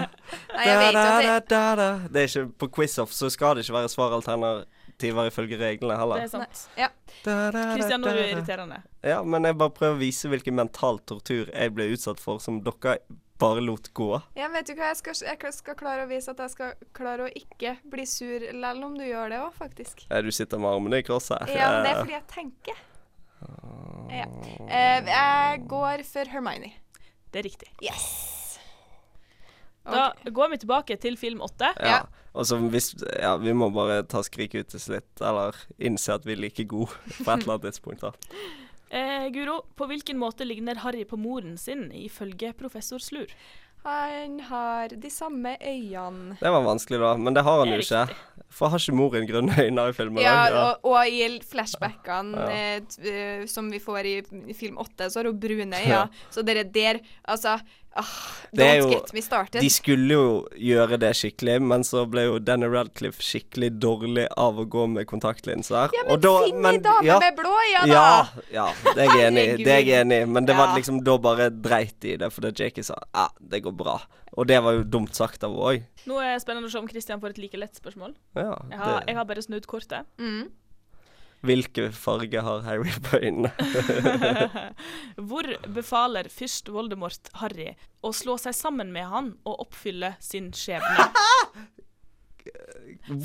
[SPEAKER 1] Nei, jeg vet jo at det
[SPEAKER 2] Da, da, da, da. Det er ikke På quiz-off så skal det ikke være svaralternativer ifølge reglene
[SPEAKER 3] Det
[SPEAKER 2] heller.
[SPEAKER 3] er sant. Kristian,
[SPEAKER 2] Kristian,
[SPEAKER 3] nå er du irriterende.
[SPEAKER 2] Ja, men jeg bare prøver å vise hvilken mental tortur jeg ble utsatt for, som dere bare lot gå.
[SPEAKER 1] Ja, men vet du hva, jeg skal, jeg skal klare å vise at jeg skal klare å ikke bli sur, lell om du gjør det òg, faktisk.
[SPEAKER 2] Eh, Du sitter med armene i kors her.
[SPEAKER 1] Ja, men det er
[SPEAKER 2] Eh,
[SPEAKER 1] fordi jeg tenker. Ja. Eh, jeg går for Hermione.
[SPEAKER 3] Det er riktig.
[SPEAKER 1] Yes!
[SPEAKER 3] Da
[SPEAKER 1] Ok.
[SPEAKER 3] går vi tilbake til film åtte.
[SPEAKER 2] Eh, ja.
[SPEAKER 1] ja.
[SPEAKER 2] Og så hvis Ja, vi må bare ta skriket ut til slutt, eller innse at vi er like gode på et eller annet tidspunkt, da.
[SPEAKER 3] Eh, Guro, på hvilken måte ligner Harry på moren sin, ifølge professor Slur?
[SPEAKER 1] Han har de samme øynene.
[SPEAKER 2] Det var vanskelig, da. Men det har han
[SPEAKER 3] Det er
[SPEAKER 2] jo ikke. For har ikke mor en grønne øyne i filmen?
[SPEAKER 1] Ja,
[SPEAKER 2] da?
[SPEAKER 1] og, og i flashbackene
[SPEAKER 2] Ja.
[SPEAKER 1] eh, t- eh, som vi får i i film åtte, så har hun brune
[SPEAKER 2] Ja.
[SPEAKER 1] øyne. Så dere der, altså ah,
[SPEAKER 2] Det er
[SPEAKER 1] Don't
[SPEAKER 2] jo-
[SPEAKER 1] get me started.
[SPEAKER 2] De skulle jo gjøre det skikkelig, men så ble jo Danny Radcliffe skikkelig dårlig av å gå med kontaktlinser.
[SPEAKER 1] Ja,
[SPEAKER 2] Og
[SPEAKER 1] men
[SPEAKER 2] da-
[SPEAKER 1] finn
[SPEAKER 2] men-
[SPEAKER 1] ei dame
[SPEAKER 2] ja.
[SPEAKER 1] med blå øyne, da!
[SPEAKER 2] Ja, ja, det er jeg enig i. Det er jeg enig i. Men det var
[SPEAKER 1] Ja.
[SPEAKER 2] liksom da bare dreit i det, fordi Jakey sa ja, det går bra. Og det var jo dumt sagt av henne òg.
[SPEAKER 3] Nå er det spennende å se om Kristian får et like lett spørsmål.
[SPEAKER 2] Ja,
[SPEAKER 3] Jeg har,
[SPEAKER 2] det-
[SPEAKER 3] jeg har bare snudd kortet.
[SPEAKER 1] Mm.
[SPEAKER 2] Hvilke farger har Harry på øynene?
[SPEAKER 3] Hvor befaler fyrst Voldemort Harry å slå seg sammen med han og oppfylle sin
[SPEAKER 2] [LAUGHS]
[SPEAKER 3] skjebne?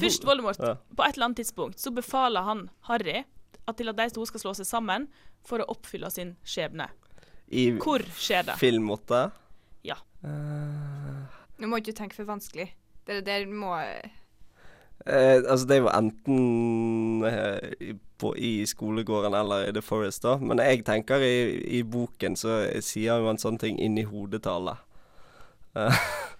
[SPEAKER 3] Fyrst Voldemort,
[SPEAKER 2] Ja.
[SPEAKER 3] på et eller annet tidspunkt, så befaler han Harry at til at de to skal slå seg sammen for å oppfylle sin skjebne.
[SPEAKER 2] I
[SPEAKER 3] Hvor skjer det?
[SPEAKER 2] film 8?
[SPEAKER 3] Ja.
[SPEAKER 1] Nå må ikke du tenke for vanskelig. Dere der må
[SPEAKER 2] Eh, altså, det er jo enten eh, i- på, i skolegården eller i The Forest, da. Men jeg tenker i, i boken så sier jo han sånne ting inni hodet til alle. Eh, [LAUGHS]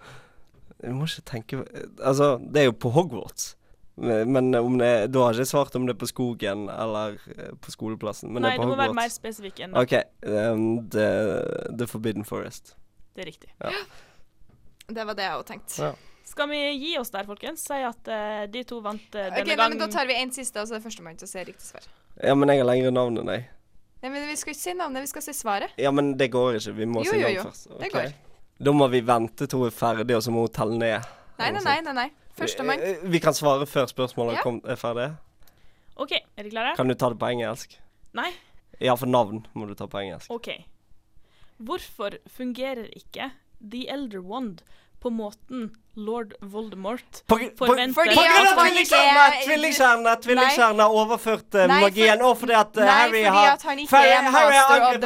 [SPEAKER 2] Jeg må ikke tenke Altså, det er jo på Hogwarts. Men men om det, da har jeg ikke svart om det er på skogen eller eh, på skoleplassen. Men
[SPEAKER 3] Nei,
[SPEAKER 2] det er
[SPEAKER 3] du
[SPEAKER 2] på
[SPEAKER 3] må være mer sånn,
[SPEAKER 2] Hogwarts.
[SPEAKER 3] spesifikk enn det.
[SPEAKER 2] OK. ehm, the, the Forbidden Forest.
[SPEAKER 3] Det er riktig.
[SPEAKER 1] Det var det jeg òg tenkte.
[SPEAKER 2] Ja.
[SPEAKER 3] Skal vi gi oss der, folkens? Si at eh, de to vant eh,
[SPEAKER 1] Ok,
[SPEAKER 3] denne
[SPEAKER 1] nei, men Da
[SPEAKER 3] gangen.
[SPEAKER 1] tar vi en siste, og så er det førstemann til å se riktig svar.
[SPEAKER 2] Ja, men jeg har lengre navn enn deg.
[SPEAKER 1] Nei, men Vi skal ikke si navnet, vi skal si svaret.
[SPEAKER 2] Ja, men det går ikke. Vi må
[SPEAKER 1] Jo,
[SPEAKER 2] si
[SPEAKER 1] jo,
[SPEAKER 2] navn
[SPEAKER 1] jo.
[SPEAKER 2] først.
[SPEAKER 1] Det
[SPEAKER 2] Ok.
[SPEAKER 1] går.
[SPEAKER 2] Da må vi vente til hun er ferdig, og så må hun telle ned.
[SPEAKER 1] Nei, nei, nei. nei, nei. Førstemann.
[SPEAKER 2] Eh, Vi kan svare før spørsmålet
[SPEAKER 1] Ja.
[SPEAKER 2] kom, er ferdig.
[SPEAKER 3] OK, er dere klare?
[SPEAKER 2] Kan du ta det på engelsk?
[SPEAKER 3] Nei?
[SPEAKER 2] Ja, for navn må du ta på engelsk.
[SPEAKER 3] OK. Hvorfor fungerer ikke The Elder Wand på måten lord Voldemort
[SPEAKER 2] På,
[SPEAKER 3] Forventer-
[SPEAKER 2] på
[SPEAKER 1] Fordi at
[SPEAKER 2] grunn av
[SPEAKER 1] han
[SPEAKER 2] tvillingkjernen!
[SPEAKER 1] ikke er-
[SPEAKER 2] Tvillingkjernen tvillingkjernen har overført
[SPEAKER 1] Nei,
[SPEAKER 2] eh,
[SPEAKER 1] for-
[SPEAKER 2] magien, og fordi at eh,
[SPEAKER 1] Nei,
[SPEAKER 2] Harry
[SPEAKER 1] fordi
[SPEAKER 2] har
[SPEAKER 1] at han ikke er master of the one.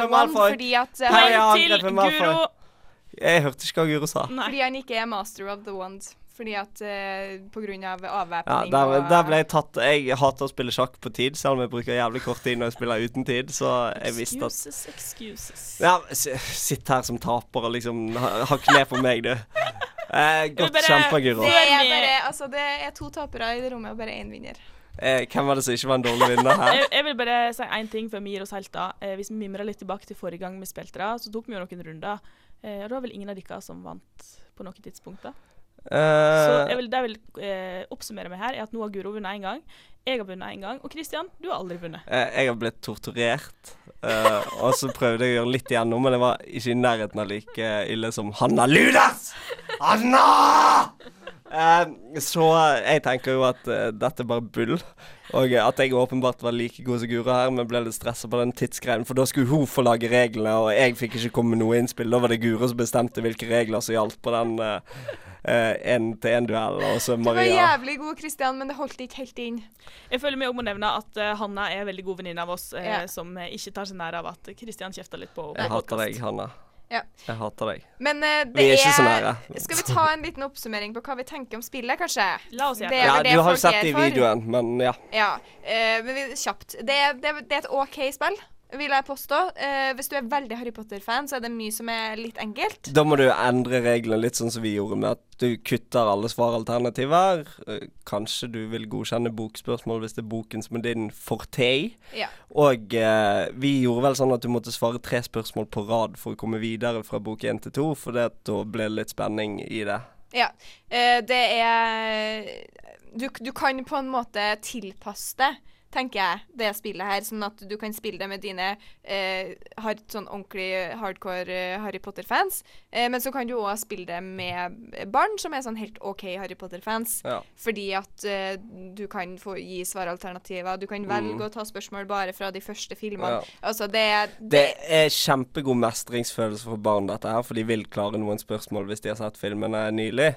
[SPEAKER 1] Fordi at eh,
[SPEAKER 2] Nei,
[SPEAKER 1] han,
[SPEAKER 2] jeg
[SPEAKER 3] Poeng til
[SPEAKER 2] angriper Malfoy.
[SPEAKER 3] Guro
[SPEAKER 2] Jeg hørte ikke hva Guro sa.
[SPEAKER 3] Nei.
[SPEAKER 1] fordi han ikke er master of the wand. Fordi at eh, På grunn av
[SPEAKER 2] Ja,
[SPEAKER 1] avvæpning
[SPEAKER 2] der,
[SPEAKER 1] og-
[SPEAKER 2] der ble jeg tatt Jeg hater å spille sjakk på tid, selv om jeg bruker jævlig kort tid når jeg spiller uten tid, så jeg visste at
[SPEAKER 3] Excuses, excuses.
[SPEAKER 2] Ja, s- sitt her som taper og liksom ha, ha kne på meg, du. Eh, godt
[SPEAKER 3] bare-
[SPEAKER 2] kjempa, Guro.
[SPEAKER 1] Det
[SPEAKER 3] Før
[SPEAKER 1] er,
[SPEAKER 3] vi-
[SPEAKER 1] bare, altså, det er to tapere i det rommet og bare én vinner.
[SPEAKER 2] Eh, hvem var det som ikke var en dårlig vinner her?
[SPEAKER 3] Jeg, jeg vil bare si én ting før vi gir oss helt av. Eh, hvis vi mimrer litt tilbake til forrige gang vi spilte, da, så tok vi jo noen runder. Eh, og det var vel ingen av dere som vant på noe tidspunkt. da. Så
[SPEAKER 2] Eh,
[SPEAKER 3] jeg vil, det jeg vil eh, oppsummere med her, er at nå har Guro vunnet én gang. Jeg har vunnet én gang. Og Christian, du har aldri vunnet.
[SPEAKER 2] eh, jeg har blitt torturert, eh, og så prøvde jeg å gjøre litt igjennom, men jeg var ikke i nærheten av like ille som Hanna Ludas! Hanna! Eh, så jeg tenker jo at eh, dette er bare bull, og at jeg åpenbart var like god som Guro her, men ble litt stressa på den tidsgreien, for da skulle hun få lage reglene, og jeg fikk ikke komme med noe innspill. Da var det Guro som bestemte hvilke regler som gjaldt på den eh, én-til-én-duellen, og så
[SPEAKER 1] Du var
[SPEAKER 2] Maria.
[SPEAKER 1] jævlig god, Christian, men det holdt ikke helt inn.
[SPEAKER 3] Jeg føler vi også må nevne at eh, Hanna er en veldig god venninne av oss, eh,
[SPEAKER 1] Ja.
[SPEAKER 3] som eh, ikke tar seg nær av at Christian kjefter litt på, på
[SPEAKER 2] Jeg hater
[SPEAKER 3] podcast.
[SPEAKER 2] deg, Hanna.
[SPEAKER 1] Ja.
[SPEAKER 2] Jeg hater deg.
[SPEAKER 1] Men eh, det
[SPEAKER 2] Vi er ikke så nære.
[SPEAKER 1] Skal vi ta en liten oppsummering på hva vi tenker om spillet, kanskje?
[SPEAKER 3] La oss
[SPEAKER 1] Det
[SPEAKER 3] gjøre det.
[SPEAKER 1] er
[SPEAKER 2] Ja,
[SPEAKER 1] vel det
[SPEAKER 2] du
[SPEAKER 1] folk
[SPEAKER 2] har jo sett
[SPEAKER 1] er
[SPEAKER 2] det i
[SPEAKER 1] for.
[SPEAKER 2] videoen, men ja.
[SPEAKER 1] Ja, eh, men vi, kjapt. Det, er- det, er- det er et OK spill, vil jeg påstå. Eh, hvis du er veldig Harry Potter-fan, så er det mye som er litt enkelt.
[SPEAKER 2] Da må du endre reglene litt sånn som vi gjorde, med at du kutter alle svaralternativer. Eh, Kanskje du vil godkjenne bokspørsmål hvis det er boken som er din forte.
[SPEAKER 1] Ja.
[SPEAKER 2] Og eh, vi gjorde vel sånn at du måtte svare tre spørsmål på rad for å komme videre fra bok én til to, for det, at da ble det litt spenning i det.
[SPEAKER 1] ja. Eh, det er du, du kan på en måte tilpasse det, tenker jeg, det spillet her. Sånn at du kan spille det med dine eh, hard, sånn ordentlig hardcore eh, Harry Potter-fans. Eh, men så kan du òg spille det med barn som er sånn helt OK Harry Potter-fans.
[SPEAKER 2] Ja.
[SPEAKER 1] Fordi at eh, du kan få gi svaralternativer. Du kan velge å ta spørsmål bare fra de første filmene.
[SPEAKER 2] Mm. Ja.
[SPEAKER 1] Altså, det er
[SPEAKER 2] Det er kjempegod mestringsfølelse for barn, dette her, for de vil klare noen spørsmål hvis de har sett filmene nylig.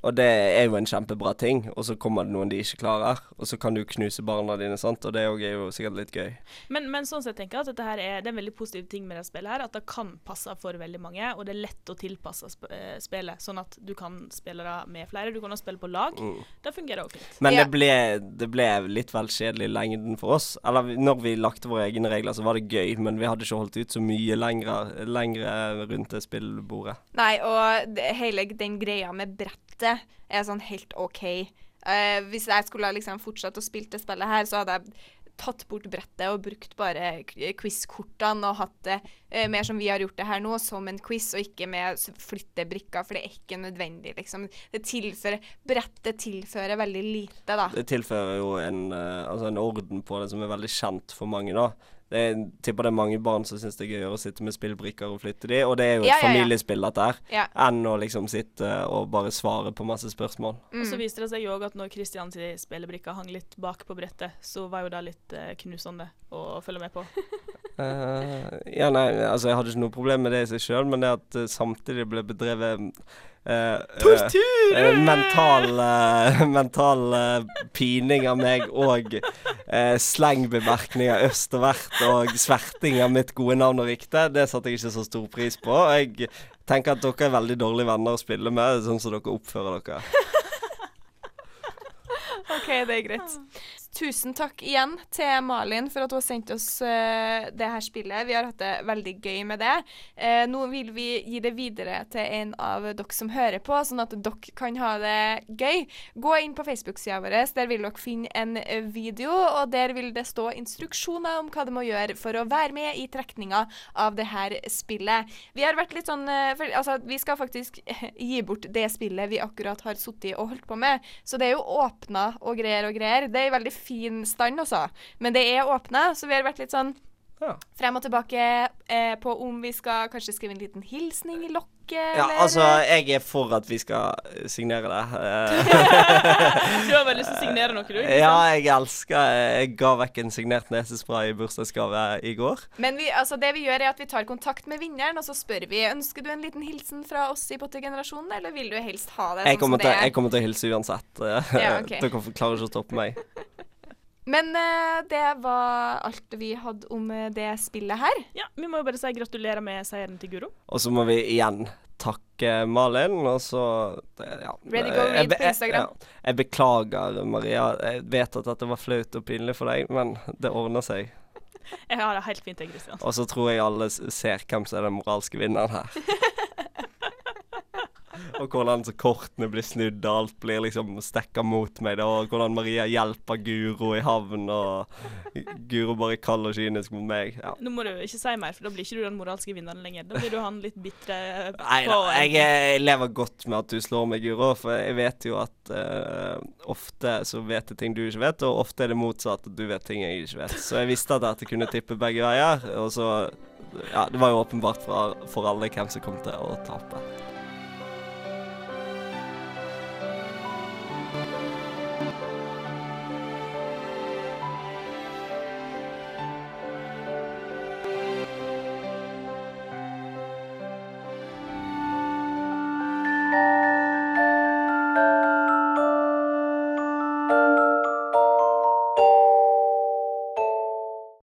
[SPEAKER 2] Og det er jo en kjempebra ting, og så kommer det noen de ikke klarer, og så kan du knuse barna dine, sant, og det òg er jo sikkert litt gøy.
[SPEAKER 3] Men, men sånn sett tenker jeg at dette her er, det er en veldig positiv ting med det spillet her, at det kan passe for veldig mange, og det er lett å tilpasse sp eh, spillet, sånn at du kan spille det med flere. Du kan også spille på lag.
[SPEAKER 2] Mm.
[SPEAKER 3] Det fungerer også fint.
[SPEAKER 2] Men
[SPEAKER 1] Ja.
[SPEAKER 2] det, ble, det ble litt vel kjedelig i lengden for oss. Eller vi- når vi lagde våre egne regler, så var det gøy, men vi hadde ikke holdt ut så mye lengre, lengre rundt det spillbordet.
[SPEAKER 1] Nei, og det, hele den greia med brettet er sånn helt OK. Eh, hvis jeg skulle ha liksom fortsatt å spille det spillet her, så hadde jeg tatt bort brettet og brukt bare k- eh, quiz-kortene og hatt det eh, mer som vi har gjort det her nå, som en quiz, og ikke med s- flytte brikker, for det er ikke nødvendig, liksom. Det tilfører Brettet tilfører veldig lite, da.
[SPEAKER 2] Det tilfører jo en, eh, altså en orden på det som er veldig kjent for mange, da. Det er, tipper det er mange barn som syns det er gøyere å sitte med spillbrikker og flytte de, og det er jo et
[SPEAKER 1] Ja, ja, ja.
[SPEAKER 2] familiespill, dette her,
[SPEAKER 1] Ja.
[SPEAKER 2] enn å liksom sitte og bare svare på masse spørsmål.
[SPEAKER 3] Og
[SPEAKER 1] mm.
[SPEAKER 3] så viste det seg jo òg at når Christian sin spillebrikke hang litt bak på brettet, så var jo det litt eh, knusende å følge
[SPEAKER 1] [LAUGHS]
[SPEAKER 3] med på.
[SPEAKER 2] Eh, ja, nei, altså jeg hadde ikke noe problem med det i seg sjøl, men det at eh, samtidig ble bedrevet Tortur! mental eh, [LAUGHS] mental eh, pining av meg og eh, slengbemerkninger øst og vert og sverting av mitt gode navn og rykte, det satte jeg ikke så stor pris på. Og jeg tenker at dere er veldig dårlige venner å spille med, sånn som dere oppfører dere.
[SPEAKER 1] [LAUGHS] OK, det er greit. Ah. Tusen takk igjen til Malin for at hun har sendt oss eh, det her spillet. Vi har hatt det veldig gøy med det. Eh, nå vil vi gi det videre til en av dere som hører på, sånn at dere kan ha det gøy. Gå inn på Facebook-sida vår. Der vil dere finne en eh, video, og der vil det stå instruksjoner om hva du må gjøre for å være med i trekninga av det her spillet. Vi har vært litt sånn eh, for, Altså, vi skal faktisk [LAUGHS] gi bort det spillet vi akkurat har sittet og holdt på med. Så det er jo åpna og greier og greier. Det er i veldig fin stand, også, men det er åpna, så vi har vært litt sånn
[SPEAKER 2] Ja.
[SPEAKER 1] frem og tilbake eh, på om vi skal kanskje skrive en liten hilsning i lokket,
[SPEAKER 2] ja,
[SPEAKER 1] eller
[SPEAKER 2] altså, jeg er for at vi skal signere det. Eh,
[SPEAKER 3] Du har vel lyst til å signere noe, du? ikke
[SPEAKER 2] Ja,
[SPEAKER 3] sant?
[SPEAKER 2] jeg elsker Jeg ga vekk en signert nesespray i bursdagsgave i går.
[SPEAKER 1] Men vi, altså, det vi gjør, er at vi tar kontakt med vinneren, og så spør vi ønsker du en liten hilsen fra oss i Pottergenerasjonen, eller vil du helst ha det
[SPEAKER 2] Jeg
[SPEAKER 1] sånn
[SPEAKER 2] kommer
[SPEAKER 1] som
[SPEAKER 2] til,
[SPEAKER 1] det
[SPEAKER 2] jeg
[SPEAKER 1] er?
[SPEAKER 2] kommer til å hilse uansett. eh,
[SPEAKER 1] Ja, ok.
[SPEAKER 2] [LAUGHS] Dere klarer ikke å stoppe meg.
[SPEAKER 1] Men eh, det var alt vi hadde om eh, det spillet her.
[SPEAKER 3] Ja, vi må jo bare si gratulerer med seieren til Guro.
[SPEAKER 2] Og så må vi igjen takke Malin, og så ja.
[SPEAKER 1] Ready, go,
[SPEAKER 2] Jeg
[SPEAKER 1] read
[SPEAKER 2] be-
[SPEAKER 1] på Instagram.
[SPEAKER 2] Jeg, ja. jeg beklager, Maria. Jeg vet at dette var flaut og pinlig for deg, men det ordner seg.
[SPEAKER 3] Jeg har det helt fint, jeg, Kristian.
[SPEAKER 2] Og så tror jeg alle s- ser hvem som er den moralske vinneren her. Og hvordan så kortene blir snudd, og alt blir liksom stekka mot meg. Da, og hvordan Maria hjelper Guro i havn, og Guro bare er kald og kynisk mot meg. Ja.
[SPEAKER 3] Nå må du ikke si mer, for da blir ikke du den moralske vinneren lenger. Da blir du han litt bitre
[SPEAKER 2] Nei da, jeg, jeg lever godt med at du slår meg, Guro, for jeg vet jo at eh, ofte så vet jeg ting du ikke vet, og ofte er det motsatt, at du vet ting jeg ikke vet. Så jeg visste at dette kunne tippe begge veier, og så Ja, det var jo åpenbart for, for alle hvem som kom til å tape.